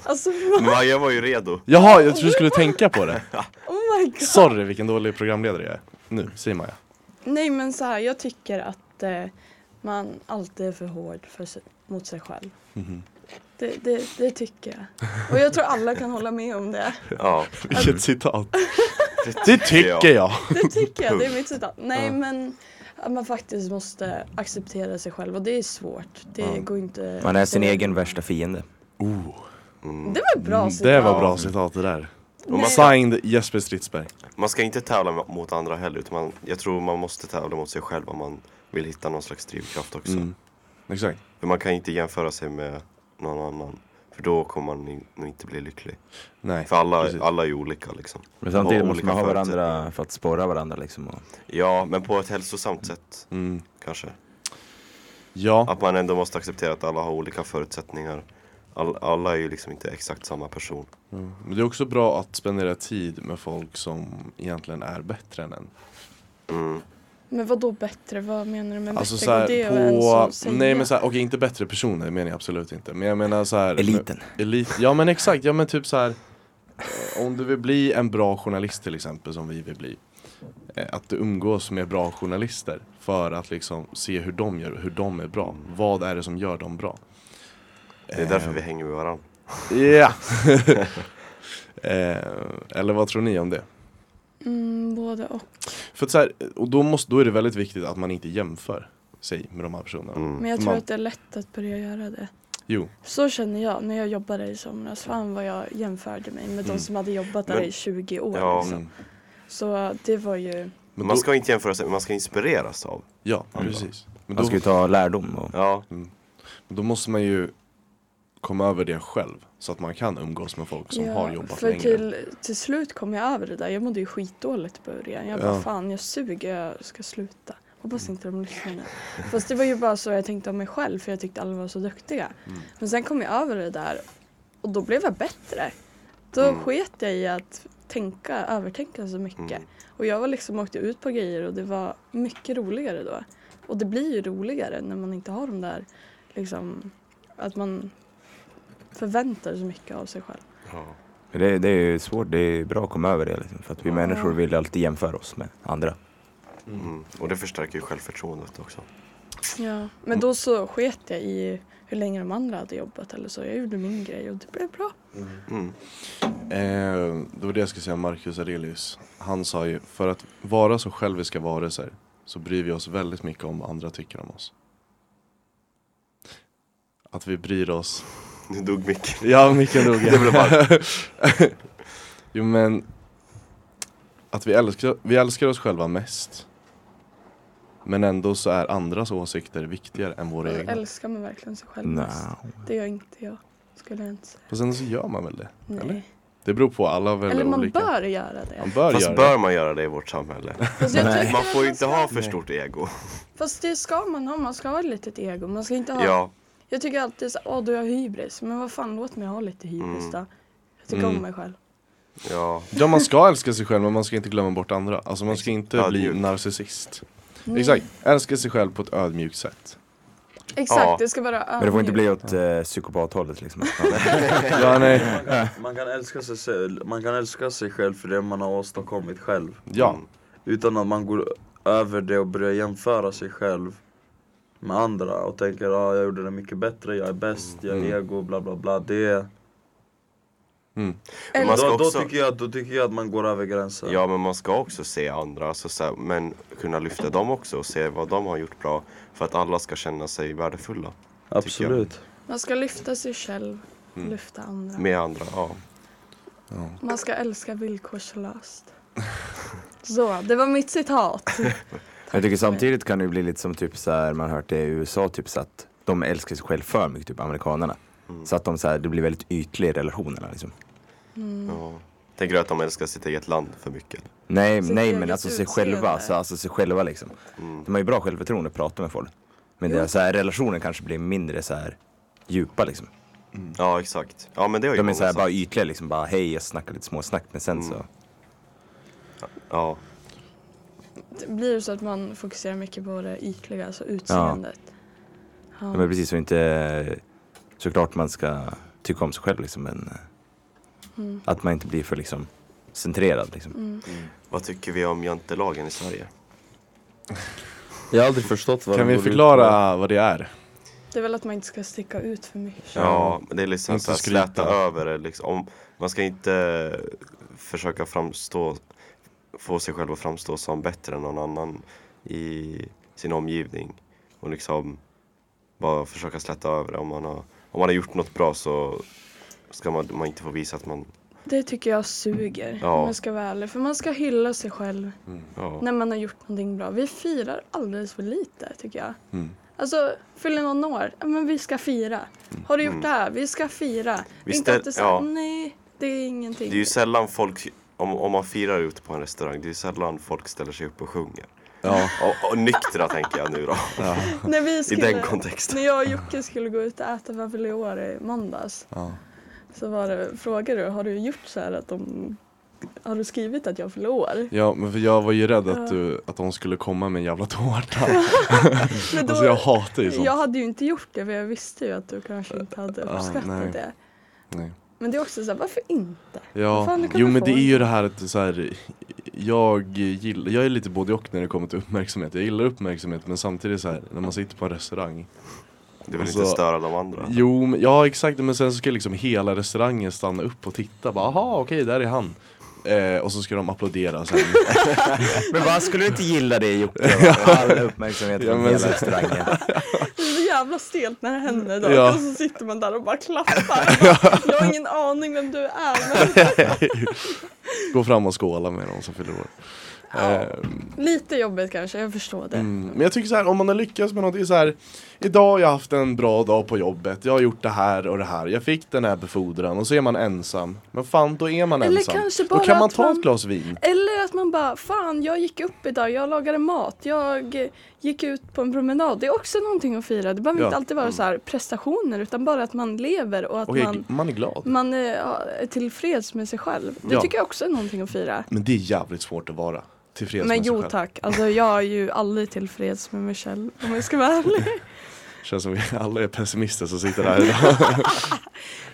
[SPEAKER 3] Alltså,
[SPEAKER 5] Maja var ju redo.
[SPEAKER 2] Jaha, jag trodde du skulle tänka på det.
[SPEAKER 3] oh my god.
[SPEAKER 2] Sorry vilken dålig programledare jag är. Nu, säg Maja.
[SPEAKER 3] Nej men så här, jag tycker att eh, man alltid är för hård för sig, mot sig själv.
[SPEAKER 2] Mhm.
[SPEAKER 3] Det, det, det tycker jag. Och jag tror alla kan hålla med om det.
[SPEAKER 5] Ja.
[SPEAKER 2] Vilket citat. Det
[SPEAKER 5] Det
[SPEAKER 2] tycker jag.
[SPEAKER 3] Det tycker jag, det är mitt citat. Nej men att man faktiskt måste acceptera sig själv och det är svårt. Det går inte...
[SPEAKER 4] Man är sin egen värsta fiende.
[SPEAKER 3] Det var ett bra citat.
[SPEAKER 2] Mm, Det var bra citat det där.
[SPEAKER 3] Nej.
[SPEAKER 2] Signed Jesper Stridsberg.
[SPEAKER 5] Man ska inte tävla med- mot andra heller. Utan man, jag tror man måste tävla mot sig själv om man vill hitta någon slags drivkraft också.
[SPEAKER 2] Mm. Exakt.
[SPEAKER 5] För man kan inte jämföra sig med någon annan. För då kommer man in- nog inte bli lycklig.
[SPEAKER 2] Nej.
[SPEAKER 5] För alla,
[SPEAKER 2] precis.
[SPEAKER 5] alla är ju olika liksom.
[SPEAKER 4] Men samtidigt
[SPEAKER 5] Och
[SPEAKER 4] måste man ha
[SPEAKER 5] olika
[SPEAKER 4] varandra för att spåra varandra liksom. Och,
[SPEAKER 5] Ja, men på ett hälsosamt sätt
[SPEAKER 2] Mm.
[SPEAKER 5] kanske.
[SPEAKER 2] Ja,
[SPEAKER 5] Att man ändå måste acceptera att alla har olika förutsättningar. All, alla är ju liksom inte exakt samma person.
[SPEAKER 2] men det är också bra att spendera tid med folk som egentligen är bättre än en.
[SPEAKER 3] Men vad då bättre? Vad menar du med
[SPEAKER 2] Alltså
[SPEAKER 3] bättre?
[SPEAKER 2] så här,
[SPEAKER 3] Går det att
[SPEAKER 2] på,
[SPEAKER 3] ens säga?
[SPEAKER 2] nej men så här, okej inte bättre personer det menar jag absolut inte. Men jag menar så här,
[SPEAKER 4] Eliten.
[SPEAKER 2] Elit, ja men exakt, ja men typ så här. eh, Om du vill bli en bra journalist till exempel som vi vill bli. eh, Att du umgås med bra journalister för att liksom se hur de gör, hur de är bra. Vad är det som gör dem bra?
[SPEAKER 5] Det är därför vi hänger med varandra.
[SPEAKER 2] Ja! eh, eller vad tror ni om det?
[SPEAKER 3] Mm, både och.
[SPEAKER 2] För att så här, och då, måste, då är det väldigt viktigt att man inte jämför sig med de här personerna.
[SPEAKER 5] Mm.
[SPEAKER 3] Men jag tror
[SPEAKER 2] Man-
[SPEAKER 3] att det är lätt att börja göra det.
[SPEAKER 2] Jo,
[SPEAKER 3] Så känner jag när jag jobbade i somras. Fan vad jag jämförde mig med de som hade jobbat där
[SPEAKER 5] Mm. Men-
[SPEAKER 3] i 20 år.
[SPEAKER 5] Ja.
[SPEAKER 3] Liksom. Så det var ju...
[SPEAKER 2] men
[SPEAKER 5] man
[SPEAKER 2] då,
[SPEAKER 5] ska inte jämföra sig, men man ska inspireras av.
[SPEAKER 2] ja, precis. Men
[SPEAKER 4] man
[SPEAKER 2] då,
[SPEAKER 4] ska ju ta lärdom. Och,
[SPEAKER 5] Ja,
[SPEAKER 2] då måste man ju komma över det själv så att man kan umgås med folk som
[SPEAKER 3] ja,
[SPEAKER 2] har jobbat
[SPEAKER 3] för
[SPEAKER 2] längre.
[SPEAKER 3] till, till slut kom jag över det där. Jag mådde ju skitdåligt i början. Jag
[SPEAKER 2] Ja. Mm.
[SPEAKER 3] bara fan jag suger, jag ska sluta. Hoppas inte de lyssnar nu. Fast det var ju bara så jag tänkte om mig själv för jag tyckte alla var så duktiga.
[SPEAKER 2] Mm.
[SPEAKER 3] Men sen kom jag över det där och då blev jag bättre. Då
[SPEAKER 2] Mm.
[SPEAKER 3] sket jag i att tänka, övertänka så mycket.
[SPEAKER 2] Mm.
[SPEAKER 3] Och jag var liksom åkte ut på grejer och det var mycket roligare då. Och det blir ju roligare när man inte har de där liksom att man förväntar så mycket av sig själv.
[SPEAKER 4] Men Det, det är ju svårt, det är bra att komma över det liksom, för att vi
[SPEAKER 3] Ja.
[SPEAKER 4] människor vill alltid jämföra oss med andra.
[SPEAKER 5] Mm. Och det förstärker ju självförtroendet också.
[SPEAKER 3] Ja. Men då så sket jag i hur länge de andra hade jobbat eller så. Jag gjorde min grej och det blev bra.
[SPEAKER 5] Mm.
[SPEAKER 2] Eh, det var det jag skulle säga, Marcus Aurelius. Han sa ju, för att vara så själviska varelser så bryr vi oss väldigt mycket om vad andra tycker om oss. Att vi bryr oss.
[SPEAKER 5] Nu dog micken.
[SPEAKER 2] Ja, mycket noga.
[SPEAKER 5] Det blev
[SPEAKER 2] jo, men att vi älskar, vi älskar oss själva mest. Men ändå så är andras åsikter viktigare än våra
[SPEAKER 3] Och
[SPEAKER 2] egna.
[SPEAKER 3] älskar man verkligen sig själv
[SPEAKER 4] No.
[SPEAKER 3] mest? Det gör inte jag. Skulle jag inte säga.
[SPEAKER 2] Fast sen så gör man väl det?
[SPEAKER 3] Nej.
[SPEAKER 2] Eller? Det beror på, alla är väl
[SPEAKER 3] Eller man
[SPEAKER 2] olika.
[SPEAKER 3] bör göra det.
[SPEAKER 2] Man bör
[SPEAKER 5] Fast
[SPEAKER 2] göra
[SPEAKER 5] bör man göra det i vårt samhälle?
[SPEAKER 3] Fast, jag tycker
[SPEAKER 5] Man
[SPEAKER 3] att
[SPEAKER 5] får ju inte
[SPEAKER 3] ska,
[SPEAKER 5] ha för stort ego.
[SPEAKER 3] Fast det ska man ha. Man ska ha ett litet ego. Man ska inte ha...
[SPEAKER 5] Ja,
[SPEAKER 3] Jag tycker alltid så åh du har hybris. Men vad fan, låt mig ha lite hybris
[SPEAKER 5] Mm.
[SPEAKER 3] då. Jag tycker om mig själv.
[SPEAKER 5] ja.
[SPEAKER 2] Ja man ska älska sig själv men man ska inte glömma bort andra. Alltså man ska inte bli
[SPEAKER 5] Ödmjukt.
[SPEAKER 2] narcissist.
[SPEAKER 3] Nej.
[SPEAKER 2] Exakt, älska sig själv på ett ödmjukt sätt.
[SPEAKER 3] Exakt,
[SPEAKER 5] Ja.
[SPEAKER 3] det ska vara
[SPEAKER 4] Men det får inte bli åt eh, psykopathållet liksom.
[SPEAKER 2] Ja, nej.
[SPEAKER 6] Man kan, älska sig, själv- man kan älska sig själv för det man har åstadkommit själv
[SPEAKER 2] ja.
[SPEAKER 6] Utan att man går över det och börjar jämföra sig själv med andra och tänker att ah, jag gjorde det mycket bättre, jag är bäst, jag
[SPEAKER 2] Mm.
[SPEAKER 6] är ego, bla bla bla det,
[SPEAKER 5] Men man ska
[SPEAKER 6] då, då,
[SPEAKER 5] också,
[SPEAKER 6] tycker jag, att- då tycker jag att man går över gränsen
[SPEAKER 5] ja, men man ska också se andra, alltså, så här, men kunna lyfta dem också och se vad de har gjort bra. För att alla ska känna sig värdefulla
[SPEAKER 6] Absolut
[SPEAKER 3] Man ska lyfta sig själv, lyfta andra.
[SPEAKER 5] med andra. Ja.
[SPEAKER 3] Man ska älska villkorslöst. Så, det var mitt citat.
[SPEAKER 4] Jag tycker samtidigt kan det ju bli lite som typ så här, man har hört det i USA, typ så att de älskar sig själv för mycket, typ amerikanerna. Så att de så här, det blir väldigt ytliga i relationerna liksom.
[SPEAKER 5] Ja. Tänker du att de älskar sitt eget land för mycket?
[SPEAKER 4] Nej,
[SPEAKER 3] Sitt
[SPEAKER 4] nej
[SPEAKER 3] eget
[SPEAKER 4] men alltså sig
[SPEAKER 3] utseende.
[SPEAKER 4] själva, alltså, alltså sig själva liksom. De har ju bra självförtroende att prata med folk. Men det är så här, relationen kanske blir mindre så här djupa liksom.
[SPEAKER 5] Ja, exakt. Ja, men det har ju
[SPEAKER 4] De är
[SPEAKER 5] många
[SPEAKER 4] så här
[SPEAKER 5] sagt.
[SPEAKER 4] bara ytliga liksom, bara hej jag snackar lite småsnack men sen så.
[SPEAKER 5] Ja.
[SPEAKER 3] Det blir ju så att man fokuserar mycket på det ytliga, alltså utseendet.
[SPEAKER 4] Ja, men precis, och inte såklart man ska tycka om sig själv liksom men eh, att man inte blir för liksom centrerad liksom.
[SPEAKER 5] Vad tycker vi om jantelagen i Sverige?
[SPEAKER 6] Jag har aldrig förstått vad
[SPEAKER 2] Kan vi förklara vad det är?
[SPEAKER 3] Det är väl att man inte ska sticka ut för mycket.
[SPEAKER 5] Ja, det är liksom
[SPEAKER 2] Inte
[SPEAKER 5] så här,
[SPEAKER 2] skryta.
[SPEAKER 5] släta över det liksom. Om, man ska inte försöka framstå, få sig själv att framstå som bättre än någon annan i sin omgivning. Och liksom bara försöka släta över det. Om man har, om man har gjort något bra så ska man, man inte få visa att man...
[SPEAKER 3] Det tycker jag suger,
[SPEAKER 5] Ja.
[SPEAKER 3] om jag ska vara ärlig. För man ska hylla sig själv
[SPEAKER 5] Ja.
[SPEAKER 3] när man har gjort någonting bra. Vi firar alldeles för lite, tycker jag.
[SPEAKER 2] Mm.
[SPEAKER 3] Alltså, fyller någon år, ja, men vi ska fira. Har du gjort det här? Vi ska fira.
[SPEAKER 5] Mm. Vi
[SPEAKER 3] inte
[SPEAKER 5] ställ-
[SPEAKER 3] att det är så här,
[SPEAKER 5] ja.
[SPEAKER 3] nej, det är ingenting.
[SPEAKER 5] Det är ju sällan folk, om, om man firar ute på en restaurang, det är ju sällan folk ställer sig upp och sjunger.
[SPEAKER 2] Ja.
[SPEAKER 5] Och, och nyktra tänker jag nu då,
[SPEAKER 3] när vi
[SPEAKER 5] i
[SPEAKER 3] skulle,
[SPEAKER 5] den kontexten.
[SPEAKER 3] När jag och Jocke skulle gå ut och äta vad vill jag göra i måndags
[SPEAKER 2] Ja.
[SPEAKER 3] så var det, frågade du, har du gjort så här att de, har du skrivit att jag fyller år?
[SPEAKER 2] Ja men för jag var ju rädd att, du, att de skulle komma med en jävla tårta.
[SPEAKER 3] Men då,
[SPEAKER 2] Alltså jag hatar ju sånt.
[SPEAKER 3] jag hade ju inte gjort det för jag visste ju att du kanske inte hade
[SPEAKER 2] Ah,
[SPEAKER 3] uppskattat
[SPEAKER 2] nej.
[SPEAKER 3] det.
[SPEAKER 2] Nej.
[SPEAKER 3] Men det är också så här, varför inte? Vad
[SPEAKER 2] Ja,
[SPEAKER 3] fan, du kommer
[SPEAKER 2] jo men det
[SPEAKER 3] få
[SPEAKER 2] är
[SPEAKER 3] en-
[SPEAKER 2] ju det här att så här, jag gillar, jag är lite både och när det kommer till uppmärksamhet. Jag gillar uppmärksamhet men samtidigt så här när man sitter på en restaurang
[SPEAKER 5] Du vill
[SPEAKER 2] Och
[SPEAKER 5] inte
[SPEAKER 2] så-
[SPEAKER 5] störa de andra.
[SPEAKER 2] Jo, men- ja exakt, men sen så ska liksom hela restaurangen stanna upp och titta, bara aha okej där är han. Eh, och så ska de applådera sen.
[SPEAKER 4] Men vad skulle du inte gilla det Jocke? All uppmärksamhet
[SPEAKER 2] Ja,
[SPEAKER 4] från
[SPEAKER 2] men så-
[SPEAKER 4] hela restaurangen.
[SPEAKER 3] Det är så jävla stelt när det händer då.
[SPEAKER 2] Ja.
[SPEAKER 3] Och så sitter man där och bara klappar. jag har ingen aning vem du är men
[SPEAKER 2] Gå fram och skåla med dem som fyller år. Eh,
[SPEAKER 3] lite jobbigt kanske, jag förstår det.
[SPEAKER 2] mm, men jag tycker så här, om man har lyckats med någonting så här Idag har jag haft en bra dag på jobbet, jag har gjort det här och det här, jag fick den här befordran och så är man ensam. Men fan, då är man
[SPEAKER 3] Eller
[SPEAKER 2] ensam.
[SPEAKER 3] kanske
[SPEAKER 2] Då
[SPEAKER 3] bara
[SPEAKER 2] kan man
[SPEAKER 3] att
[SPEAKER 2] ta
[SPEAKER 3] man-
[SPEAKER 2] ett glas vin.
[SPEAKER 3] Eller att man bara, fan jag gick upp idag, jag lagade mat, jag eh, gick ut på en promenad. Det är också någonting att fira. Det behöver
[SPEAKER 2] Ja. Mm.
[SPEAKER 3] inte alltid vara så här prestationer utan bara att man lever och att
[SPEAKER 2] Och man...
[SPEAKER 3] man,
[SPEAKER 2] man är glad.
[SPEAKER 3] man är, ja, är tillfreds med sig själv. Det
[SPEAKER 2] Ja.
[SPEAKER 3] tycker jag också är någonting att fira.
[SPEAKER 2] Men det är jävligt svårt att vara tillfreds
[SPEAKER 3] Men
[SPEAKER 2] med sig
[SPEAKER 3] jo
[SPEAKER 2] själv.
[SPEAKER 3] tack, alltså jag är ju aldrig tillfreds med mig själv om jag ska vara ärlig.
[SPEAKER 2] Känns som vi alla är pessimister som sitter här idag.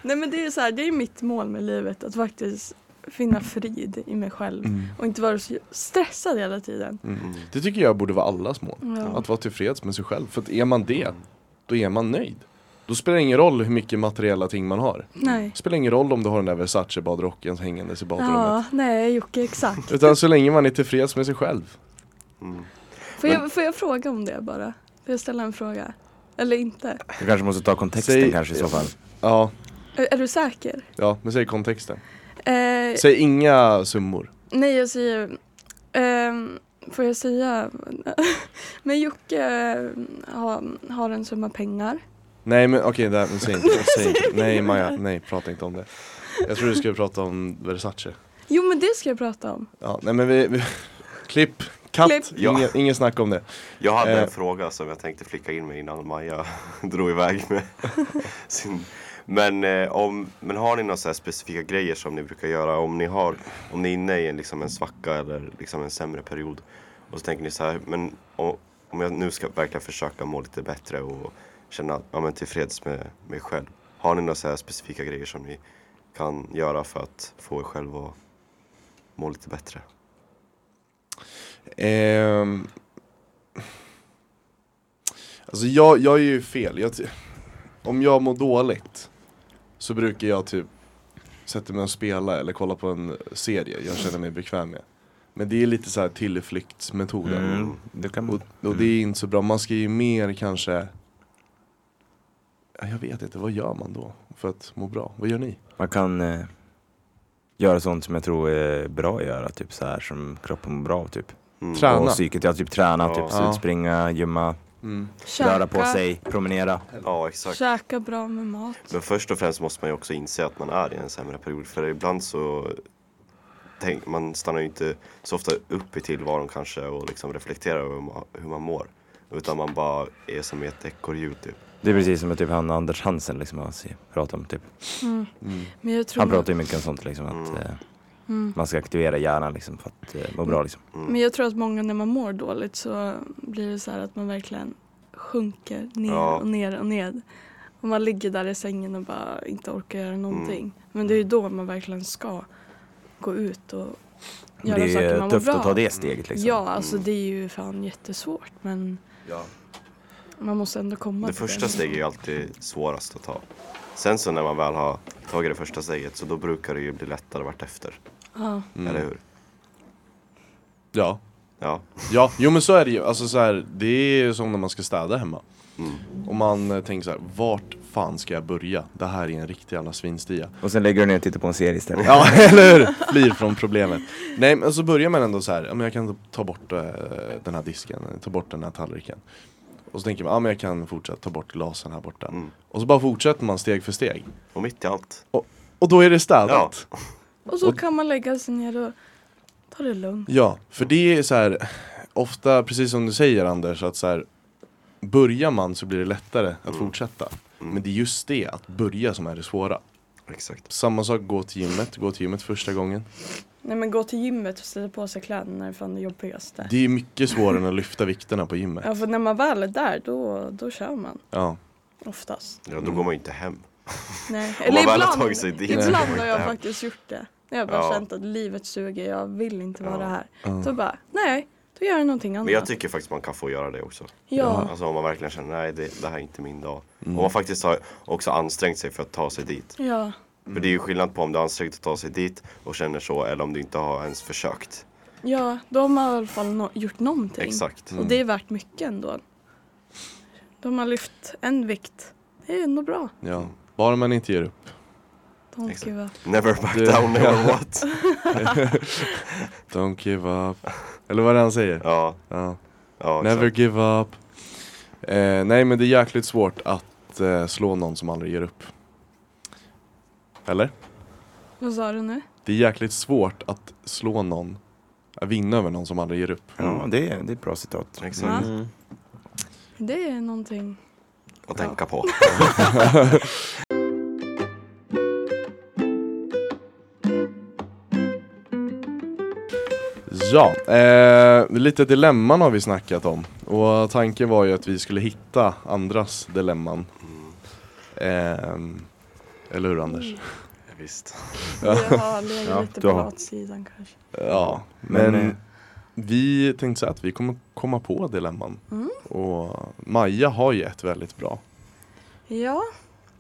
[SPEAKER 3] Nej men det är så här, det är mitt mål med livet att faktiskt finna frid i mig själv och inte vara så stressad hela tiden.
[SPEAKER 2] Mm. Det tycker jag borde vara allas mål.
[SPEAKER 3] Ja.
[SPEAKER 2] Att vara tillfreds med sig själv. För att är man det, då är man nöjd. Då spelar det ingen roll hur mycket materiella ting man har.
[SPEAKER 3] Nej.
[SPEAKER 2] Det spelar ingen roll om du har den där Versace-badrocken hängandes i badrummet.
[SPEAKER 3] Ja, nej Jocke, exakt.
[SPEAKER 2] Utan så länge man är tillfreds med sig själv.
[SPEAKER 3] Får jag, får jag fråga om det bara? Får jag ställa en fråga? Eller inte?
[SPEAKER 4] Du kanske måste ta kontexten
[SPEAKER 2] Säg-
[SPEAKER 4] kanske i så fall.
[SPEAKER 2] Ja,
[SPEAKER 3] Är, är du säker?
[SPEAKER 2] ja men säg kontexten.
[SPEAKER 3] Eh,
[SPEAKER 2] Säg inga summor.
[SPEAKER 3] nej, jag säger... ehm, får jag säga? men Jocke eh, har, har en summa pengar.
[SPEAKER 2] Nej men okej, okay, säg inte. Säg inte. Nej Maja, nej prata inte om det. Jag tror du skulle prata om Versace.
[SPEAKER 3] Jo, men det ska jag prata om.
[SPEAKER 2] Ja, nej men vi, vi klipp, katt,
[SPEAKER 3] Klipp.
[SPEAKER 2] Inge, ingen snack om det.
[SPEAKER 5] Jag hade
[SPEAKER 2] Eh.
[SPEAKER 5] en fråga som jag tänkte flicka in med innan Maja drog iväg med sin... Men, eh, om, men har ni några så här specifika grejer som ni brukar göra? Om ni, har, om ni är inne i en, liksom en svacka eller liksom en sämre period och så tänker ni så här, men o- om jag nu ska verkligen försöka må lite bättre och känna ja, men tillfreds med mig själv. Har ni några så här specifika grejer som ni kan göra för att få er själv att må lite bättre?
[SPEAKER 2] Ehm, alltså jag, jag är ju fel. Jag, ty- om jag mår dåligt så brukar jag typ sätta mig och spela eller kolla på en serie jag känner mig bekväm med. Men det är lite så här tillflyktsmetoder.
[SPEAKER 4] Mm. Det kan man.
[SPEAKER 2] Och, och det är inte så bra, man ska ju mer kanske Ja, jag vet inte, vad gör man då för att må bra? Vad gör ni?
[SPEAKER 4] Man kan eh, göra sånt som jag tror är bra att göra, typ så här som kroppen mår bra av, typ.
[SPEAKER 5] Mm.
[SPEAKER 2] Träna.
[SPEAKER 4] Och psyket, ja typ träna,
[SPEAKER 5] Ja.
[SPEAKER 4] typ så ut, springa, gymma,
[SPEAKER 2] Mm.
[SPEAKER 3] Käka,
[SPEAKER 4] röra på sig, promenera.
[SPEAKER 5] Ja, exakt.
[SPEAKER 3] käka bra med mat.
[SPEAKER 5] Men först och främst måste man ju också inse att man är i en sämre period för ibland så tänk, man stannar ju inte så ofta upp i tillvaron kanske och liksom reflekterar över hur man- hur man mår. Utan man bara är som i ett ekorrhjul typ.
[SPEAKER 4] Det är precis som typ han Anders Hansen liksom han se- pratar om typ.
[SPEAKER 3] Men jag tror Mm.
[SPEAKER 4] Han pratar ju mycket om sånt liksom att eh, man ska aktivera hjärnan liksom för att eh, må bra liksom.
[SPEAKER 3] Men jag tror att många när man mår dåligt så blir det så här att man verkligen sjunker ner
[SPEAKER 5] Ja.
[SPEAKER 3] och ner och ned. Och man ligger där i sängen och bara inte orkar göra någonting.
[SPEAKER 4] Mm.
[SPEAKER 3] Men det är ju då man verkligen ska gå ut och göra
[SPEAKER 4] det är
[SPEAKER 3] saker
[SPEAKER 4] ju
[SPEAKER 3] man mår
[SPEAKER 4] tufft
[SPEAKER 3] bra
[SPEAKER 4] att ta
[SPEAKER 3] av.
[SPEAKER 4] det steget liksom.
[SPEAKER 3] Ja, alltså det är ju fan jättesvårt men man måste ändå komma
[SPEAKER 5] Det
[SPEAKER 3] till
[SPEAKER 5] första steget är ju alltid svårast att ta. Sen så när man väl har tagit det första steget så då brukar det ju bli lättare vartefter.
[SPEAKER 3] Ja.
[SPEAKER 5] Eller hur?
[SPEAKER 2] Ja,
[SPEAKER 5] Ja.
[SPEAKER 2] Ja, jo men så är det ju. Alltså, så här, det är ju som när man ska städa hemma. Och man eh, tänker så här, vart fan ska jag börja? Det här är en riktig jävla svinstia.
[SPEAKER 4] Och sen lägger du ner och tittar på en serie istället.
[SPEAKER 2] Ja, eller hur? Flyr från problemet. Nej, men så börjar man ändå så här, ja, men jag kan ta bort eh, den här disken, ta bort den här tallriken. Och så tänker man, ja men jag kan fortsätta ta bort glasen här borta. Och så bara fortsätter man steg för steg.
[SPEAKER 5] Och mitt i allt.
[SPEAKER 2] Och, och då är det städat. Ja.
[SPEAKER 3] Och så kan man lägga sig ner och ta det lugnt.
[SPEAKER 2] för det är så här, ofta, precis som du säger Anders, att så här, börjar man så blir det lättare att
[SPEAKER 5] Mm.
[SPEAKER 2] fortsätta. Men det är just det, att börja, som är det svåra.
[SPEAKER 5] Exakt.
[SPEAKER 2] Samma sak, gå till gymmet, gå till gymmet första gången.
[SPEAKER 3] Nej men gå till gymmet och ställa på sig kläderna är fan det jobbigaste.
[SPEAKER 2] Det är mycket svårare än att lyfta vikterna på gymmet.
[SPEAKER 3] Ja för när man väl är där då, då kör man
[SPEAKER 2] Ja.
[SPEAKER 3] oftast.
[SPEAKER 5] Ja, då går man ju inte hem.
[SPEAKER 3] Nej.
[SPEAKER 5] man
[SPEAKER 3] Eller
[SPEAKER 5] väl har
[SPEAKER 3] ibland,
[SPEAKER 5] tagit sig dit.
[SPEAKER 3] ibland
[SPEAKER 5] Nej.
[SPEAKER 3] har jag faktiskt gjort det. När jag bara
[SPEAKER 5] Ja.
[SPEAKER 3] känt att livet suger, jag vill inte vara
[SPEAKER 5] Ja.
[SPEAKER 3] här. Då bara, nej, då gör jag någonting annat.
[SPEAKER 5] Men jag tycker faktiskt man kan få göra det också.
[SPEAKER 3] ja.
[SPEAKER 5] Alltså om man verkligen känner nej det, det här är inte min dag. Om man faktiskt har också ansträngt sig för att ta sig dit.
[SPEAKER 3] ja.
[SPEAKER 5] För det är ju skillnad på om du har ansträngt att ta sig dit och känner så eller om du inte har ens försökt.
[SPEAKER 3] Ja, då har man i alla fall no- gjort någonting.
[SPEAKER 5] Exakt. Mm.
[SPEAKER 3] Och det är värt mycket ändå. Då har man lyft en vikt. Det är ändå bra.
[SPEAKER 2] ja. Bara man inte ger upp.
[SPEAKER 3] Don't
[SPEAKER 5] Exakt.
[SPEAKER 3] give up.
[SPEAKER 5] Never back
[SPEAKER 2] Det-
[SPEAKER 5] down, never what.
[SPEAKER 2] Don't give up. Eller vad är det han säger?
[SPEAKER 5] Ja,
[SPEAKER 2] Ja.
[SPEAKER 5] ja
[SPEAKER 2] Never
[SPEAKER 5] exakt.
[SPEAKER 2] give up. Eh, nej men det är jäkligt svårt att eh, slå någon som aldrig ger upp. Eller?
[SPEAKER 3] Vad sa du nu?
[SPEAKER 2] Det är jäkligt svårt att slå någon, att vinna över någon som aldrig ger upp.
[SPEAKER 4] Ja, det är, det är ett bra citat.
[SPEAKER 5] Exakt.
[SPEAKER 3] Ja.
[SPEAKER 6] Mm.
[SPEAKER 3] Det är någonting.
[SPEAKER 5] Att tänka på.
[SPEAKER 2] Ja, eh, lite dilemman har vi snackat om. Och tanken var ju att vi skulle hitta andras dilemman. Ehm, eller hur Anders?
[SPEAKER 4] Mm.
[SPEAKER 5] Visst.
[SPEAKER 3] Ja, det är
[SPEAKER 4] Ja,
[SPEAKER 3] lite
[SPEAKER 4] du
[SPEAKER 3] på
[SPEAKER 4] har-
[SPEAKER 3] latsidan kanske.
[SPEAKER 2] Ja, men,
[SPEAKER 4] Men, eh,
[SPEAKER 2] vi tänkte så här att vi kommer komma på dilemman.
[SPEAKER 3] Mm.
[SPEAKER 2] Och Maja har ju ett väldigt bra.
[SPEAKER 3] Ja,